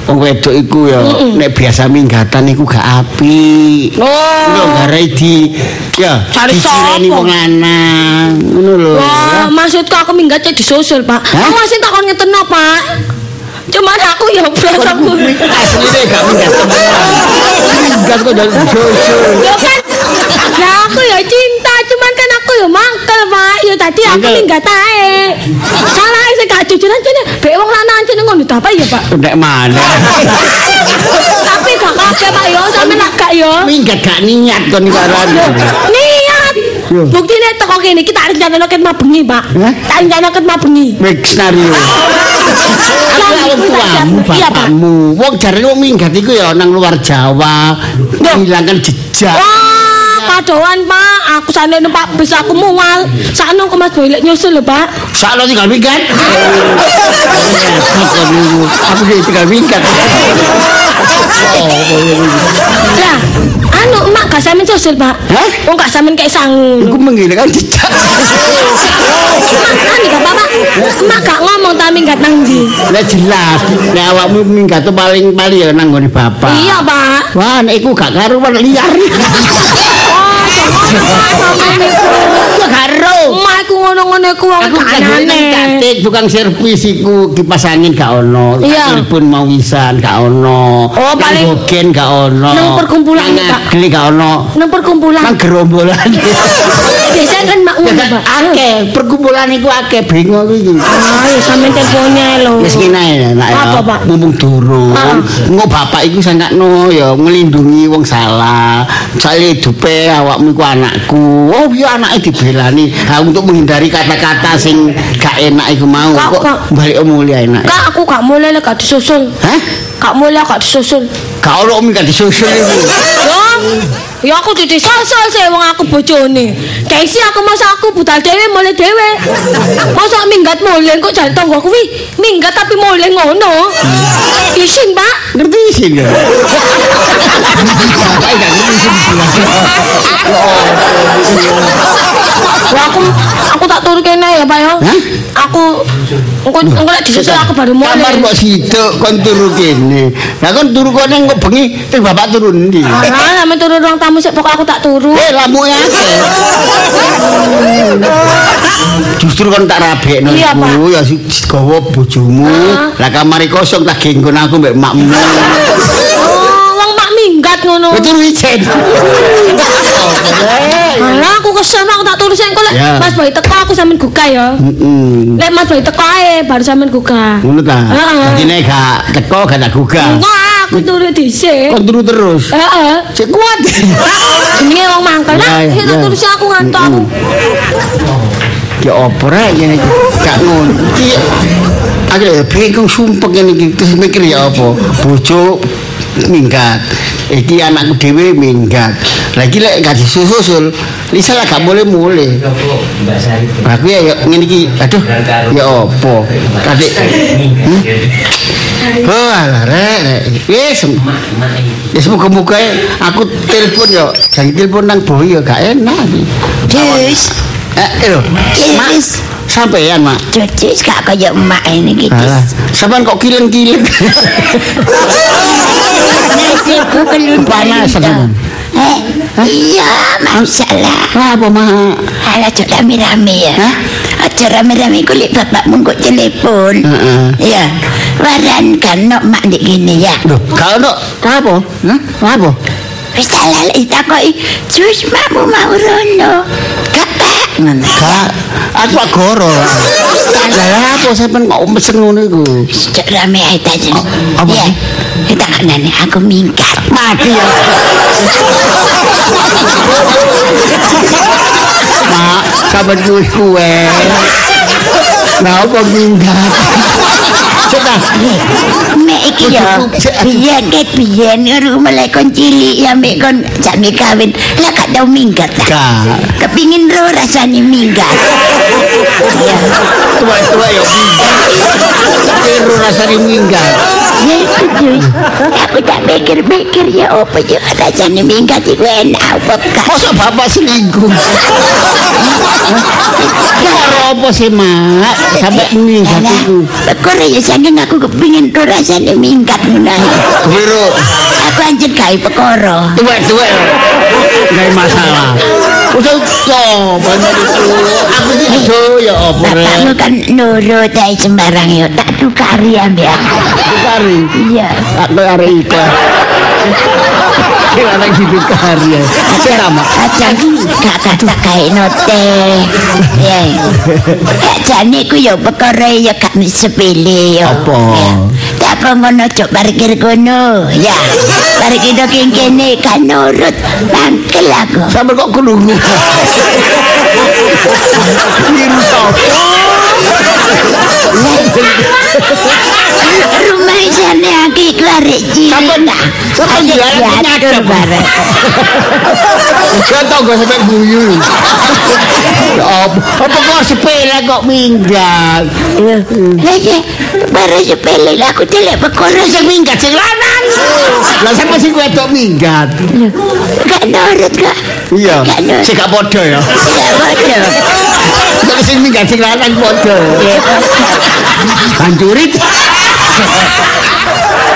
Speaker 3: Wong wedok iku ya nek biasa minggatan iku gak apik. Lho
Speaker 2: Oh.
Speaker 3: garai di ya
Speaker 2: Cari
Speaker 3: dicireni
Speaker 2: sopo?
Speaker 3: wong lanang. Ngono lho. ya.
Speaker 2: Wah, maksudku aku minggat cek disusul, Pak.
Speaker 3: Hah?
Speaker 2: Aku masih takon ngeteno, Pak. Cuman aku ya blas aku.
Speaker 3: Asline gak minggat temenan. Minggat kok dari jojo.
Speaker 2: Ya kan. Lah aku ya cinta, cuman kan aku ya mangkel, Pak. Ya tadi aku
Speaker 3: Mangkel.
Speaker 2: minggat ae. Salah sing gak jujur jane bek wong lanang jane ngono ta apa ya, Pak?
Speaker 3: Nek mana?
Speaker 2: Tapi gak kabeh, Pak ya, sampe nak gak ya.
Speaker 3: Minggat gak niat kon iki aran.
Speaker 2: Niat.
Speaker 3: Yo.
Speaker 2: Buktine teko kene iki tak rencanakno ket mabengi, Pak.
Speaker 3: Hah?
Speaker 2: Tak rencanakno ket mabengi.
Speaker 3: Make scenario. Aku ya
Speaker 2: Lah,
Speaker 3: wong
Speaker 2: iku tak
Speaker 3: tuamu,
Speaker 2: jawab. Iya, Pak.
Speaker 3: bapakmu. Wong jarene wong minggat iku ya nang luar Jawa, menghilangkan jejak.
Speaker 2: Wah, kadoan Pak. Aku sana numpak bis aku mual. Sana aku Mas Boy lek nyusul lho, Pak.
Speaker 3: Sakno tinggal minggat. Aku jadi tinggal minggat.
Speaker 2: Lah, anu emak gak sampean nyusul, Pak.
Speaker 3: Hah?
Speaker 2: Wong gak sampean kayak sangu.
Speaker 3: Aku menghilangkan jejak.
Speaker 2: Emak kan gak apa-apa. Emak gak ngomong ta minggat nang ndi.
Speaker 3: Lah jelas, nek awakmu minggat tuh paling paling ya nang nggone bapak.
Speaker 2: Iya, Pak.
Speaker 3: Wah, nek iku gak karuan liar. Gak karo.
Speaker 2: Emak ku ngono-ngono ku wong
Speaker 3: Aku
Speaker 2: gak
Speaker 3: kadang
Speaker 2: aneh.
Speaker 3: katik tukang servis iku kipas angin gak ono,
Speaker 2: Iya.
Speaker 3: telepon mau wisan gak ono.
Speaker 2: Oh,
Speaker 3: Nang
Speaker 2: paling-
Speaker 3: bogen gak ono.
Speaker 2: nang perkumpulan, Pak.
Speaker 3: Nang ngageli gak ono.
Speaker 2: Nang
Speaker 3: Nang
Speaker 2: perkumpulan.
Speaker 3: gerombolan.
Speaker 2: Biasanya kan mak
Speaker 3: Ya
Speaker 2: ngono,
Speaker 3: kan,
Speaker 2: Pak.
Speaker 3: Akeh perkumpulan iku akeh bingung aku iki.
Speaker 2: Ah, ya sampean teleponnya lho.
Speaker 3: Wis kene ya, nak ya.
Speaker 2: Apa, Pak?
Speaker 3: Mumpung durung.
Speaker 2: Ah.
Speaker 3: Engko bapak iku sangkakno ya nglindungi wong salah. Sale dupe awakmu iku anakku. Oh iya anake dibelani. Ha untuk menghindari kata-kata sing gak enak iku mau.
Speaker 2: Kak,
Speaker 3: Kok
Speaker 2: Kak.
Speaker 3: balik omuli enak.
Speaker 2: Kak, aku gak mulai lek gak disusul.
Speaker 3: Hah?
Speaker 2: Gak mulai gak disusul.
Speaker 3: Gak ono omik gak disusul iku.
Speaker 2: Yo, ya aku jadi sosok sih wong aku bojone. Kaisi aku masa aku budal dhewe mulai dhewe. Masa minggat mulai kok jan tanggo kuwi minggat tapi mulai ngono. Isin, Pak.
Speaker 3: Ngerti sih ya. Bapak gak ngerti sih.
Speaker 2: Wah, aku aku tak turu kene ya, Pak yo.
Speaker 3: Hah?
Speaker 2: Aku aku engko engko lek disusul aku baru mulai.
Speaker 3: Kamar kok sitok kon turu kene. Lah kon turu kene kok bengi terus bapak turu ndi?
Speaker 2: Alah, sampe turu ruang tamu sik pokok aku tak turu.
Speaker 3: Eh lamuke akeh. Justru kon tak rabekno
Speaker 2: Iya, Pak.
Speaker 3: iku ya si- digawa bojomu. Lah kamar kosong tak genggon aku mbek makmu.
Speaker 2: Oh, wong mak minggat ngono.
Speaker 3: Kowe turu ijen.
Speaker 2: Alah, aku kesel aku tak turu sik engko lek
Speaker 3: Ya. Hmm.
Speaker 2: Mas Boy teko aku sampean gugah ya.
Speaker 3: Heeh.
Speaker 2: Lek Mas Boy teko ae baru sampean gugah.
Speaker 3: Ngono ta.
Speaker 2: Heeh.
Speaker 3: Dadi nek gak teko gak tak gugah.
Speaker 2: Engko aku turu dhisik.
Speaker 3: Kon turu terus.
Speaker 2: Heeh.
Speaker 3: Sik kuat.
Speaker 2: Jenenge wong mangkel. Nah,
Speaker 3: Ya, ya,
Speaker 2: tak
Speaker 3: ya.
Speaker 2: turu sik aku ngantuk aku.
Speaker 3: Ki opo rek ngene iki? Gak ngono. Ki aku ya bingung sumpek ngene iki terus mikir ya apa? Bojo minggat. Iki anakku dhewe minggat. Lagi lek gak disusul, Lisa lah gak boleh mulai.
Speaker 1: Mbak Sari.
Speaker 3: Aku ya ya ngene iki. Aduh, ya apa? Kadek. Hmm? Oh, alah rek, rek. Wis. Ya semoga-moga aku telepon yo. Jangan telepon nang boy yo gak enak.
Speaker 5: Jus,
Speaker 3: Eh, lho. Mak,
Speaker 5: Jus,
Speaker 3: sampean, Mak.
Speaker 5: Jus, Jus gak kaya emak ini gitu.
Speaker 3: Alah, sampean kok kilen-kilen.
Speaker 5: Nasibku kelundang
Speaker 3: Panasan, Mam.
Speaker 5: Eh, iya masalah.
Speaker 3: Lah apa mah?
Speaker 5: Alah jok rame-rame ya. Aja rame-rame kulit bapakmu kok telepon.
Speaker 3: Heeh.
Speaker 5: Ya, waran kan nok mak ndek gini ya.
Speaker 3: Loh, gak ono. Lah apa? Hah? Lah apa?
Speaker 5: Wis tak lalek takoki, Jus makmu mau rono. Gak pak ngono.
Speaker 3: Gak, aku gak goro. Lah lah apa sampean kok mesen ngono iku?
Speaker 5: Jok rame ae tak jenis.
Speaker 3: apa
Speaker 5: Ya, kita nane aku minggat.
Speaker 3: Mati ya. Mak, sampean kuwi kuwe. Lah apa minggat? Cepat.
Speaker 5: Mek iki ya biyen ket biyen karo mulai kon cilik ya mek kon jane kawin lah gak tau minggat lah.
Speaker 3: Gak.
Speaker 5: Kepingin ro rasane minggat. Ya,
Speaker 3: Tua-tua ya minggat. Tiru rasane minggat.
Speaker 5: ya itu Jus. Aku tak pikir-pikir ya apa ya rasane minggat iku enak apa gak.
Speaker 3: Masa bapak selingkuh? Karo apa sih, Mak? Sampai minggat
Speaker 5: Alah,
Speaker 3: iku.
Speaker 5: Bekor ya saking aku kepingin ro rasane minggat ngono. ae.
Speaker 3: Kebiro.
Speaker 5: Aku anjen gawe perkara.
Speaker 3: Tuwek-tuwek. Nggak masalah. Udah coba itu. Aku sih aduh ya apa rek.
Speaker 5: Bapakmu kan nurut ae sembarang ya tak tukari ambek aku. Ya.
Speaker 3: Kari.
Speaker 5: Iya.
Speaker 3: Aku arek iku. Kira lagi di kari. ya. Saya lama.
Speaker 5: Aja gak kata kae note. Ya. Jane ku yo perkara yo gak sepele yo.
Speaker 3: Apa?
Speaker 5: Ya. Tak apa ngono cok parkir kono. Ya. Parkir do king kene kan nurut bangkel aku.
Speaker 3: Sampai kok kelungu. Biru sopo.
Speaker 5: Rumah jane aku iku arek cilik.
Speaker 3: Sampun. Sampun jalan
Speaker 5: diatur
Speaker 3: penyadap.
Speaker 5: bareng.
Speaker 3: Kau tau gue sampai guyu. Ya Apa apa kok sepele kok minggat?
Speaker 5: Lah ya, baru sepele lah aku telek perkara
Speaker 3: Sing
Speaker 5: sing
Speaker 3: minggat sing lanang. Lah sampe sing wedok minggat.
Speaker 5: gak nurut gak.
Speaker 3: Iya.
Speaker 5: Gak
Speaker 3: Sing
Speaker 5: nurut.
Speaker 3: gak padha ya.
Speaker 5: Gak bodoh.
Speaker 3: Tapi sing minggat sing lanang padha. Hancurit.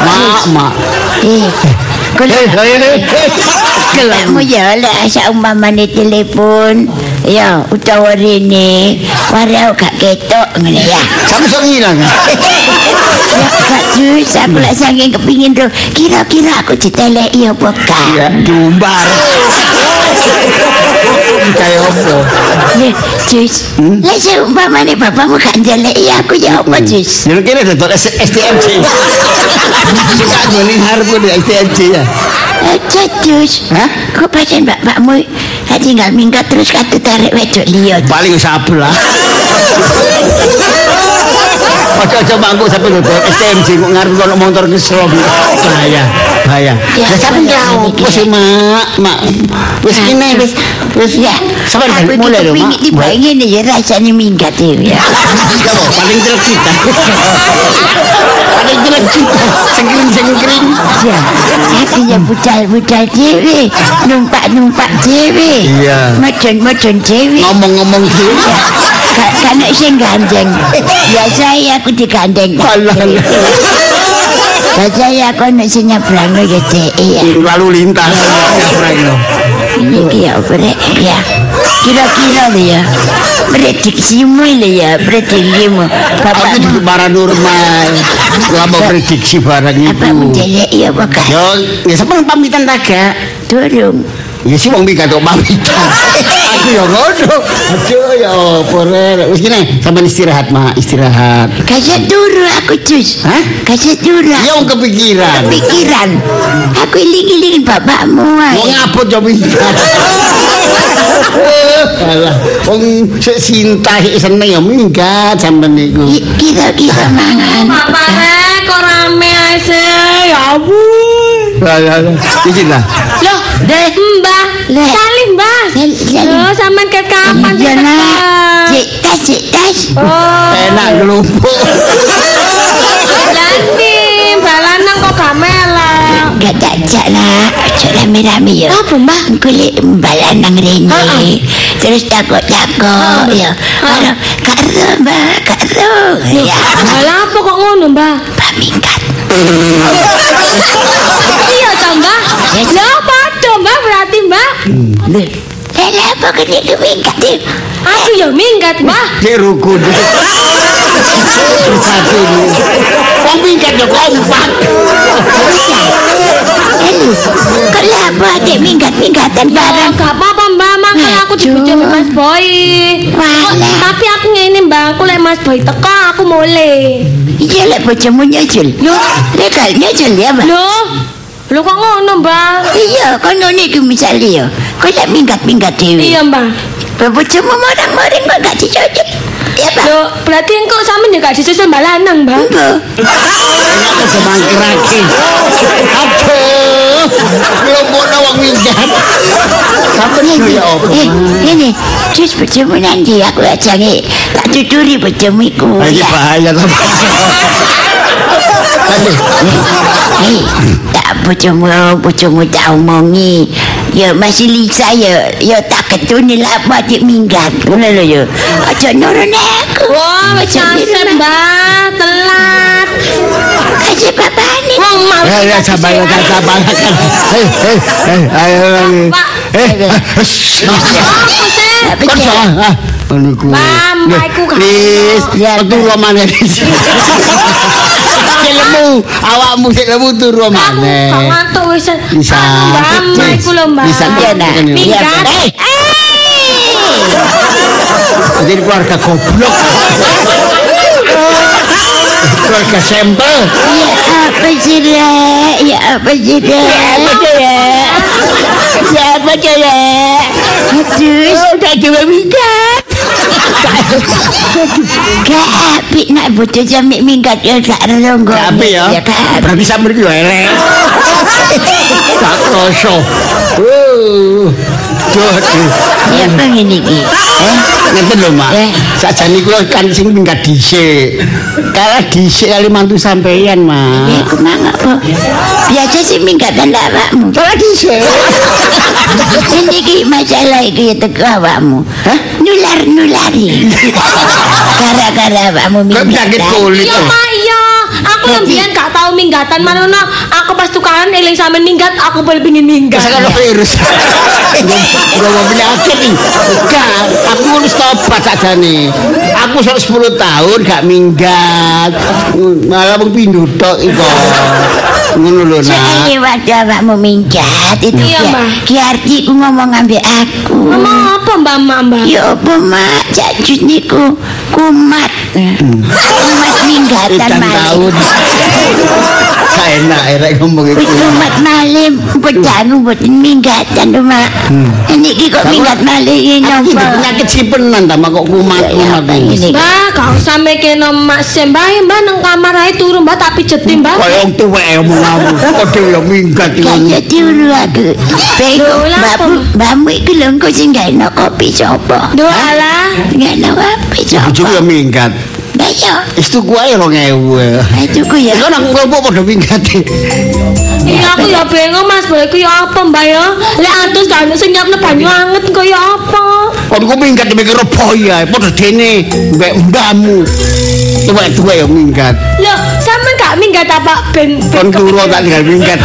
Speaker 3: Mak, mak.
Speaker 5: Eh,
Speaker 3: Eh, eh, eh, eh.
Speaker 5: Kamu ya lah asa umpama ni telefon Ya utawa rene Warau gak ketok ngene ya
Speaker 3: Sampai sok ngilang.
Speaker 5: Ya gak jus aku
Speaker 3: Hmm.
Speaker 5: lah saking kepingin tu Kira-kira aku ditelek ya apa gak
Speaker 3: Ya, jumbar. Kayak apa?
Speaker 5: Ya jus
Speaker 3: Hmm?
Speaker 5: Lah seumpama ni bapakmu gak njelek ya aku ya apa jus
Speaker 3: Jadi kira ada tulis STMJ. Suka guling harpu di STMJ ya.
Speaker 5: Aja Eh, jus
Speaker 3: Hah?
Speaker 5: Kok pasien bapakmu Tak tinggal minggat terus kata tarik wedok liya
Speaker 3: Paling sabu lah. Ojo-ojo mangkuk sampai dodol STMJ kok ngarep ono motor kesrong. Bahaya, bahaya.
Speaker 5: Ya,
Speaker 3: Ya sampe
Speaker 5: ya,
Speaker 3: nyawu
Speaker 5: ya.
Speaker 3: wis mak, mak. Wis kene wis wis
Speaker 5: Ya,
Speaker 3: sampe balik
Speaker 5: aku
Speaker 3: mulai
Speaker 5: iki
Speaker 3: lho mak.
Speaker 5: kepingin dibayangin ya rasanya minggat ya.
Speaker 3: Ya, Pak, paling jelek kita. Paling jelek kita. Sengkring-sengkring.
Speaker 5: lah. Ya, hatinya budal-budal dewe, numpak-numpak dewe.
Speaker 3: Iya.
Speaker 5: Medon-medon dewe. Ya.
Speaker 3: Ngomong-ngomong dhewe.
Speaker 5: Gak gak nek sing gandeng. Ya saya aku digandeng. Ya saya aku nek sing nyebrang ya dhek ya.
Speaker 3: lalu lintas
Speaker 5: Iki ya oprek ya. Kira-kira lho ya. Prediksimu lho ya, prediksimu.
Speaker 3: aku
Speaker 5: Bapakmu
Speaker 3: di paranormal gak mau prediksi barang
Speaker 5: apa
Speaker 3: itu
Speaker 5: menjelek ya apa gak?
Speaker 3: yo ya sampean pamitan ta gak
Speaker 5: Durung.
Speaker 3: ya sih wong pikat kok pamitan aku ya ngono aduh ya apa rek wis gini sampean istirahat mak istirahat
Speaker 5: Kaset duru aku cus.
Speaker 3: Hah?
Speaker 5: Kaset duru.
Speaker 3: ya wong kepikiran
Speaker 5: Pikiran. Aku iling-ilingin bapakmu
Speaker 3: Wong
Speaker 5: ae.
Speaker 3: ngapot yo pintar. Alah, wong sik cinta sik seneng ya minggat sampean niku.
Speaker 5: I- Kira-kira mangan.
Speaker 2: Papa rek eh, kok rame ae sih? Ya ampun.
Speaker 3: Alah, alah. Iki lah.
Speaker 2: Loh, Mbah,
Speaker 5: Le.
Speaker 2: Salim, Mbah.
Speaker 5: Sal- Salim.
Speaker 2: Loh, sampean ket kapan
Speaker 5: Iya
Speaker 2: cerita?
Speaker 5: Ya nak. Cik tas, cik tas.
Speaker 2: Oh,
Speaker 3: Enak kelumpuk.
Speaker 2: Lani, Mbak Lanang kok gak melek.
Speaker 5: Gak tak jak lah. Ojo rame-rame ya.
Speaker 2: Apa, Mbah?
Speaker 5: Kulit mbala nang
Speaker 2: Heeh.
Speaker 5: rene. Terus takut-takut ya. Karo karo mbak, karo. Ya,
Speaker 2: Lah apa kok ngono, Mbah?
Speaker 5: mbak minggat.
Speaker 2: Iya ta, Mbah? Lah padha, Mbah berarti, Mbah.
Speaker 5: Lha lah, apa kene ku minggat iki?
Speaker 2: Aku ya minggat, Mbah.
Speaker 3: Dek rukun. Satu ini. Wong minggat yo kompak.
Speaker 5: Aduh, Kok lha apa adik minggat-minggatan
Speaker 2: Ya,
Speaker 5: barang?
Speaker 2: gak apa-apa Mbak, makanya aku dibujuk sama Mas Boy.
Speaker 5: Walah.
Speaker 2: Kok- tapi aku ngene Mbak, aku lek Mas Boy teko aku mulai.
Speaker 5: Iya lek bojomu nyusul. Lho, lek gak nyusul ya, Mbak.
Speaker 2: Loh, lu kok ngono Mbak?
Speaker 5: Iya, kono niku misale ya. Kok lek minggat-minggat dhewe.
Speaker 2: Iya Mbak.
Speaker 5: Bojomu marang-maring kok gak dicocok. Ya, Pak.
Speaker 2: Loh, berarti engkau sama juga disusul Mbak Lanang Mbak.
Speaker 5: Lho,
Speaker 3: Enak kok mangkrake. Aduh. Kelumpuk nang wong minggat. Sampeyan yo ya apa?
Speaker 5: eh, ini, terus bojomu nanti aku ajange tak tuturi bojomu iku.
Speaker 3: Ah, Ini
Speaker 5: ya.
Speaker 3: bahaya sampean.
Speaker 5: Hei, Eh, tak bojomu bojomu tak omongi. Ya masih lisa ya ya tak ketuni lah apa dik minggat. Ngono lho ya. Aja nurun eh. aku.
Speaker 2: Wah, wis nyasar Mbak, telat.
Speaker 5: Aja babane.
Speaker 2: Wong mau.
Speaker 3: Eh, ya sabar ya sabar. Eh, eh, eh, ayo lagi.
Speaker 2: Pak.
Speaker 3: Eh, eh, shh.
Speaker 2: Apa sih?
Speaker 3: Kon salah. Ah, niku.
Speaker 2: Pam,
Speaker 3: Nih,
Speaker 2: aku gak
Speaker 3: Nis, turu maneh. Sik lemu, awakmu sik lemu turu
Speaker 2: Aku gak
Speaker 3: maneh.
Speaker 2: ngantuk wis.
Speaker 3: Iya, Bisa.
Speaker 2: Anu, Mbak, Mbak iku lho Mbak. Eh.
Speaker 3: Bisa,
Speaker 5: Iya, nak.
Speaker 2: Minggat.
Speaker 5: Iya,
Speaker 3: Jadi keluarga goblok. Keluarga sampel.
Speaker 5: Ya apa sih Rek? Ya apa sih Rek? Ya apa sih Rek? Ya apa sih Rek? Aduh, udah dua minggat. Gak apik nak bodoh jamik minggat ya gak ronggo.
Speaker 3: Gak apik ya.
Speaker 5: gak apik.
Speaker 3: Berarti sampean iki yo elek. Gak kroso. Uh. Duh, duh.
Speaker 5: Ya apa ngene iki?
Speaker 3: Eh, ngeten lho, Mak.
Speaker 5: Eh.
Speaker 3: Sajane kula kan sing minggat dhisik. Kalah dhisik kali mantu sampeyan,
Speaker 5: Ya
Speaker 3: Mak.
Speaker 5: aku mang apa? Biasa sih minggatan lah awakmu.
Speaker 3: Kalah dhisik.
Speaker 5: Ini ki masalah iki ya teko awakmu. Hah? Nular-nulari. Gara-gara awakmu
Speaker 3: Kok
Speaker 5: minggatan.
Speaker 3: sakit kulit
Speaker 2: Iya
Speaker 3: kok.
Speaker 2: Mbak, iya. Aku yang biyen gak tau minggatan manono. Aku pas tukaran eling sama minggat, aku boleh pingin minggat.
Speaker 3: Masa kan virus. Gak mau penyakit nih. Enggak, aku harus tobat saja nih. Aku sudah 10 tahun gak minggat. Malah mau pindu tok iko. Ngono lho nak.
Speaker 5: Soalnya waktu awakmu minggat itu
Speaker 2: Iya,
Speaker 5: Ki-
Speaker 2: Mbak.
Speaker 5: Ki Ardi ku ngomong ambek aku.
Speaker 2: Ngomong apa Mbak Mbak Mbak?
Speaker 5: Ya apa mak, cak jut niku kumat. Kumat minggatan
Speaker 3: Ikan tahun.
Speaker 5: malim.
Speaker 3: Gak enak erek ngomong
Speaker 5: Wis
Speaker 3: itu.
Speaker 5: kumat malim, pecahan mboten minggatan lho mak. Niki kok minggat malim ini
Speaker 3: Aku
Speaker 5: nopo?
Speaker 3: ini penyakit sipenan tambah kok kumat
Speaker 2: Iya,
Speaker 3: kumat
Speaker 5: Apa
Speaker 3: ini.
Speaker 5: ini?
Speaker 2: Mbak, gak usah mikirno Mak Sem. Mbak, ya, Mbak nang kamar ae turu Mbak tak pijeti Mbak.
Speaker 3: Kaya wong tuwek ya mau ngawur. Kok dhewe ya minggat
Speaker 5: Gak iya.
Speaker 3: iki.
Speaker 5: jadi ulu aku. Bego,
Speaker 2: Lho, Iya, lah,
Speaker 5: mbakmu, mbakmu iku lho engko sing gak enak kopi sapa?
Speaker 2: Doa lah.
Speaker 5: Gak enak kopi sapa?
Speaker 3: Bojoku ya minggat.
Speaker 5: Lah iya,
Speaker 3: Wis tuku ae 2000.
Speaker 5: ayo tuku ya.
Speaker 3: Iku nang kelompok padha pinggate.
Speaker 2: Iya aku ya bengong Mas Boy ku ya apa Mbak ya? Lek atus gak ono sing nyiapne banyu anget kok ya apa?
Speaker 3: Kon ku minggat mikir opo ya, padha dene mbek mbamu. Coba dua ya minggat.
Speaker 2: Loh, sampean gak minggat apa ben ben
Speaker 3: Kon
Speaker 2: ke-
Speaker 3: turu tak tinggal minggat.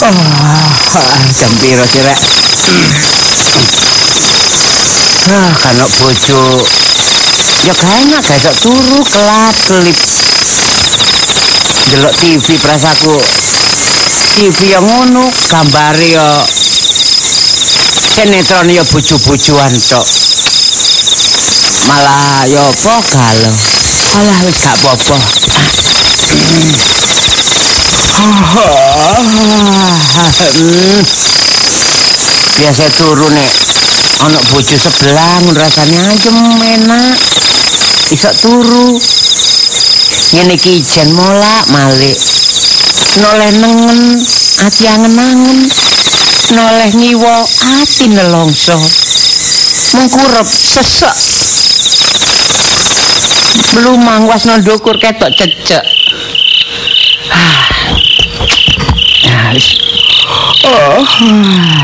Speaker 1: Ah, Oh, jam piro sih rek? Ah, kanok bojo. Ya kayaknya gak iso turu kelap kelip. Delok TV perasaku. TV yang ya ngono, gambare ya sinetron ya bojo-bojoan tok. Malah ya apa galau. Alah wis gak apa-apa. Hmm. biasa turu nek ana bojo sebelah ngono rasane ayem enak iso turu ngene iki ijen molak malik noleh nengen ati angen-angen noleh nyiwa ati nelongso mengkurep sesek belum mangwas nondokur ketok cecek Ah, wis. Oh. Hmm.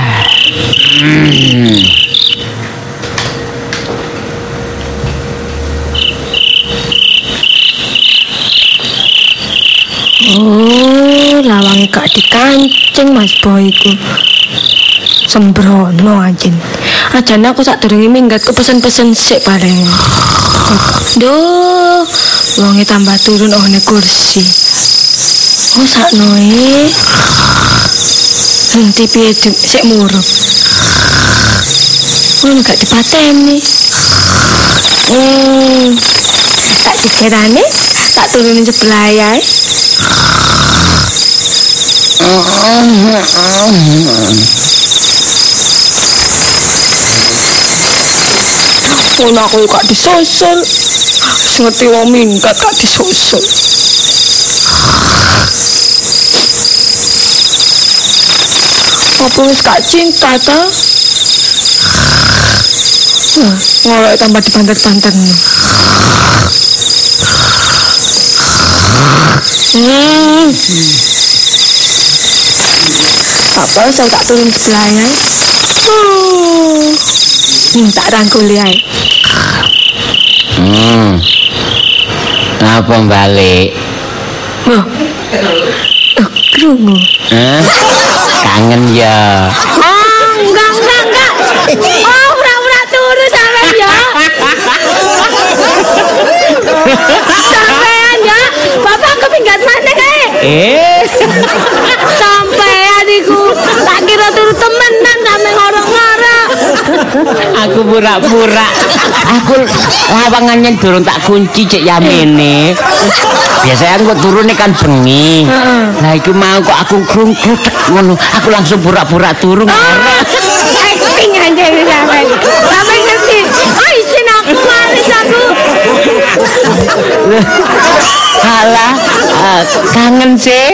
Speaker 2: Oh, lawang gak dikancing Mas Boy iku. Sembrono anjen. Ajane aku sak durunge minggat ku pesen-pesen sik paling. Duh, wonge tambah turun oh nek kursi. Oh sakno e. Henti piye Dik? sik murup. Wong gak dipateni. Hmm. Tak dikerane, tak turunin sebelah ya. eh. Ngono aku kok disusul. Wis ngerti wong minggat kok disusul. Apa wis gak cinta ta? Wah, Ngolok tambah dibantet-bantet no. Hmm. Apa saya tak turun ke belakang? Hmm. Hmm, tak rangkul ya.
Speaker 1: Hmm. Apa balik?
Speaker 2: Loh. Loh, krungu.
Speaker 1: Hah? Kangen ya.
Speaker 2: Ah, enggak, enggak, enggak. Oh, pura-pura turu sampean ya. Sampean ya. Bapak kepinggat mana kae?
Speaker 1: Eh,
Speaker 2: Sampean iku tak kira turu temenan sampe ngorok-ngorok.
Speaker 1: aku pura-pura. Aku lawangannya durung tak kunci cek yamene. Biasanya aku turun nih kan bengi. Nah, itu mau kok aku krungkrut ngono. Aku langsung pura-pura turun.
Speaker 2: Acting aja ini sampean. Sampean ngerti. Oh, isin aku maris aku.
Speaker 1: Halah, eh, kangen sih.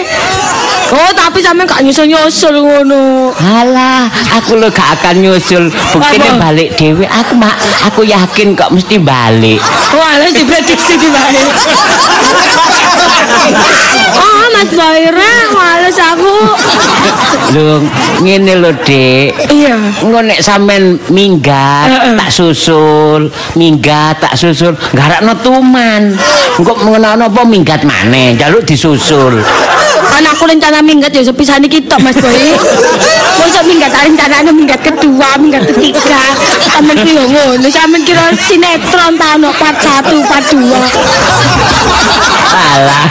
Speaker 2: Oh, tapi sampean gak nyusul-nyusul ngono.
Speaker 1: Alah, aku lo gak akan nyusul. Buktinya
Speaker 2: Apa?
Speaker 1: balik dewe. Aku mak, aku yakin kok mesti balik.
Speaker 2: Wah, harus diprediksi di balik. Oh, Mas Boyra, males aku.
Speaker 1: Lung, ngene lho, Dik.
Speaker 2: Iya.
Speaker 1: Engko nek sampean minggat,
Speaker 2: Heeh.
Speaker 1: tak susul, minggat, tak susul, garakno tuman. Engko ngono apa minggat maneh, jaluk disusul.
Speaker 2: Anakku rencana minggat ya sepisane iki tok Mas Boy. Mosok minggat rencanane minggat kedua, minggat ketiga. Sampeyan ki yo ngono, sampeyan kira sinetron ta ono part 1, part 2.
Speaker 1: Alah.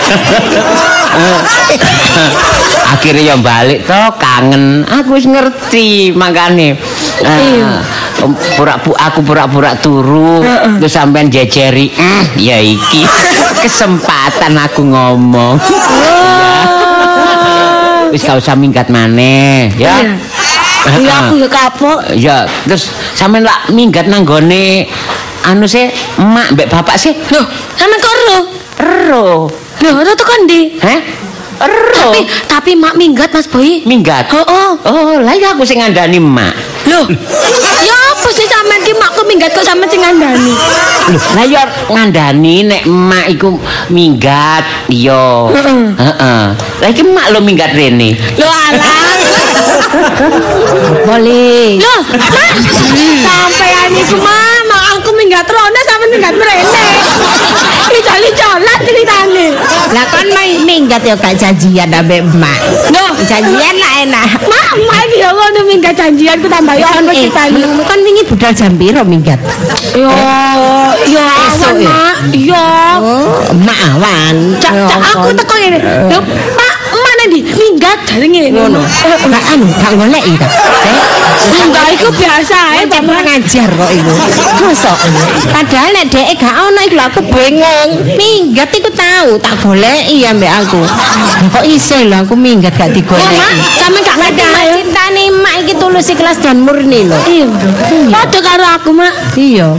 Speaker 1: Akhirnya ya balik to kangen. Aku wis ngerti makane. Ah, pura pu- aku pura-pura turu terus sampean jejeri. "Mm, ya iki kesempatan aku ngomong. Iya. Wis gak usah minggat maneh ya.
Speaker 2: Iya, aku yo kapok.
Speaker 1: Ya, terus sampean lak minggat nang gone anu sih emak mbek bapak sih.
Speaker 2: Loh, sampeyan kok ero?
Speaker 1: Ero.
Speaker 2: Loh, ero tekan ndi?
Speaker 1: Heh? Ero.
Speaker 2: Tapi tapi mak minggat Mas Boy.
Speaker 1: minggat.
Speaker 2: Oh, oh.
Speaker 1: Oh, lah iya aku sing ngandani mak.
Speaker 2: Loh, ya apa sih sampean ki makku minggat kok sampean sing ngandani?
Speaker 1: Loh, Lah iya ngandani nek mak iku minggat, iya.
Speaker 2: Heeh.
Speaker 1: Heeh. Lah iki mak lo minggat rene.
Speaker 2: Loh alah.
Speaker 1: Boleh.
Speaker 2: Loh, Mak. Sampean iku Mak, mak aku minggat rona sampean minggat mrene. Ijali jalan ceritane.
Speaker 4: Lah kan main minggat ya gak janjian ambek emak.
Speaker 2: Loh,
Speaker 4: Janjian lah enak.
Speaker 2: Mak, mak iki ya ngono minggat janjian ku tambah yo ono
Speaker 4: Eh,
Speaker 2: ceritane.
Speaker 4: menunggu kan wingi budal jam piro minggat? Eh,
Speaker 2: Yo, yo awan
Speaker 4: Esok ya? Oh,
Speaker 2: Mak. Yo.
Speaker 4: Emak awan.
Speaker 2: Cak, cak aku teko ngene. Loh, Mak, Mak nang ndi? Minggat jaringe ngono.
Speaker 4: Lah anu gak Eh, golek iki.
Speaker 2: Minggat iku biasa ae,
Speaker 4: Cek
Speaker 2: Bapak.
Speaker 4: ngajar kok iku. Mosok. Padahal nek dhek gak ono iku lho aku bingung. Minggat iku tahu tak goleki ya mbek aku. Lah Kok iso lho aku minggat gak
Speaker 2: Mak,
Speaker 4: digoleki.
Speaker 2: sampean gak ngerti Mak, ya?
Speaker 4: Cintane emak iki tulus ikhlas dan murni lho.
Speaker 2: Iya, Padha karo aku, Mak.
Speaker 4: Iya.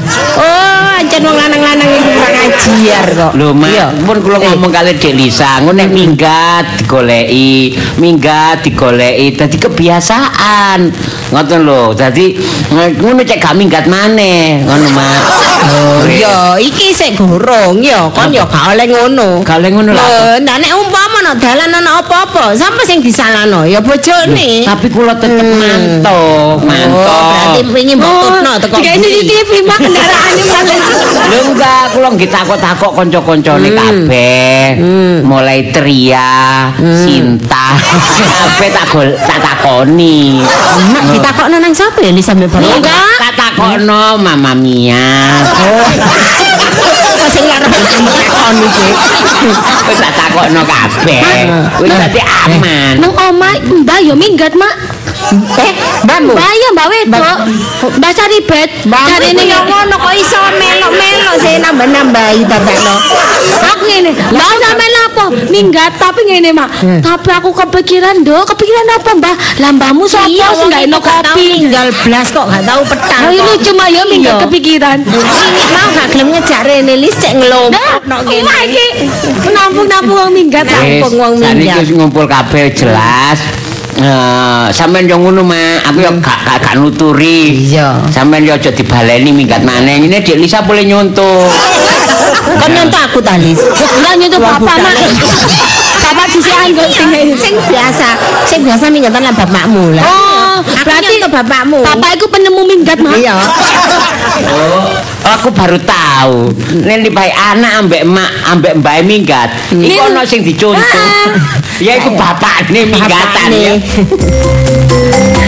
Speaker 4: Oh, ancen wong lanang-lanang iku kurang ajiar kok.
Speaker 1: Lho
Speaker 4: Iya.
Speaker 1: mak, pun kula
Speaker 4: Eh.
Speaker 1: ngomong kali Dek Lisa, ngono nek minggat digoleki, minggat digoleki dadi kebiasaan. Ngoten lho. Dadi ngono cek gak minggat maneh, ngono mak.
Speaker 4: Oh, ya, iki sik gorong ya, kon ya gak oleh ngono.
Speaker 1: Gak oleh ngono lah.
Speaker 4: Lho, nah nek umpama no dalan ana apa-apa, sapa sing disalano? Ya bojone.
Speaker 1: Tapi kula tetep
Speaker 4: Hmm.
Speaker 1: mantau, mantau.
Speaker 4: Oh, berarti wingi mbok tutno teko.
Speaker 2: Dikai CCTV, Mak, kendaraannya Mak.
Speaker 1: Lho enggak, kula nggih takok-takok kanca-kancane
Speaker 4: Hmm.
Speaker 1: kabeh. Mulai Tria,
Speaker 4: Hmm.
Speaker 1: Sinta, kabeh tak gol tak takoni.
Speaker 4: Mak ditakokno nang sapa ya Lisa mbek
Speaker 1: Lho,
Speaker 4: bapak?
Speaker 1: Tak takono Mama Mia.
Speaker 4: Oh. Kok sing larang takon iki.
Speaker 1: Wis tak takokno kabeh. Wis dadi aman.
Speaker 2: Nang omah Mbak yo minggat, Mak.
Speaker 4: Eh, mbakmu.
Speaker 2: Mbak ya Mbak Wetok. Mbak Saribet. Carine
Speaker 4: Carine
Speaker 2: yo
Speaker 4: ya ngono kok iso melok-melok sih nambah-nambahi babakno.
Speaker 2: Aku ngene, Mbak sampean apa? Minggat tapi ngene, Mak.
Speaker 4: Eh.
Speaker 2: Tapi aku kepikiran, Do. Kepikiran apa, Mbak? Lah mbakmu
Speaker 4: Iya,
Speaker 2: sapa sing
Speaker 4: wong
Speaker 2: gak
Speaker 4: itu
Speaker 2: enak
Speaker 4: gak tau
Speaker 2: kopi?
Speaker 4: Tinggal blas kok gak tau petang.
Speaker 2: Ayo lucu, ya, Mak, yo minggat
Speaker 4: Iya.
Speaker 2: kepikiran.
Speaker 4: Mau gak gelem ngejak rene lis cek
Speaker 2: Dah,
Speaker 4: ngelompokno
Speaker 2: omah iki nampung-nampung wong minggat. Mak.
Speaker 1: Wis,
Speaker 4: wong
Speaker 1: saiki
Speaker 4: minggat.
Speaker 1: wis ngumpul kabeh jelas. Eh, sampean yo ngono Mak, aku yo gak gak gak nuturi.
Speaker 4: Iya.
Speaker 1: Sampean yo aja dibaleni minggat maneh. Ini Dek Lisa boleh nyontoh.
Speaker 4: Kon nyontok aku ta lis.
Speaker 2: Enggak nyentuh
Speaker 4: Wah,
Speaker 2: papa,
Speaker 4: budak.
Speaker 2: Mak. Papa disian kok sing
Speaker 4: Iya, Sing biasa, sing biasa mingatan lah bapakmu lah.
Speaker 2: Oh,
Speaker 4: Aku
Speaker 2: berarti
Speaker 4: nyontok bapakmu.
Speaker 2: Papa iku penemu minggat, Mak.
Speaker 4: Iya.
Speaker 1: Oh, aku baru tahu. Nek dipai anak ambek mak ambek mbak minggat. Iku
Speaker 2: Nih.
Speaker 1: ono sing dicontoh.
Speaker 2: Ah.
Speaker 1: Ya iku bapakne minggatan
Speaker 4: Bapakne.
Speaker 1: ya.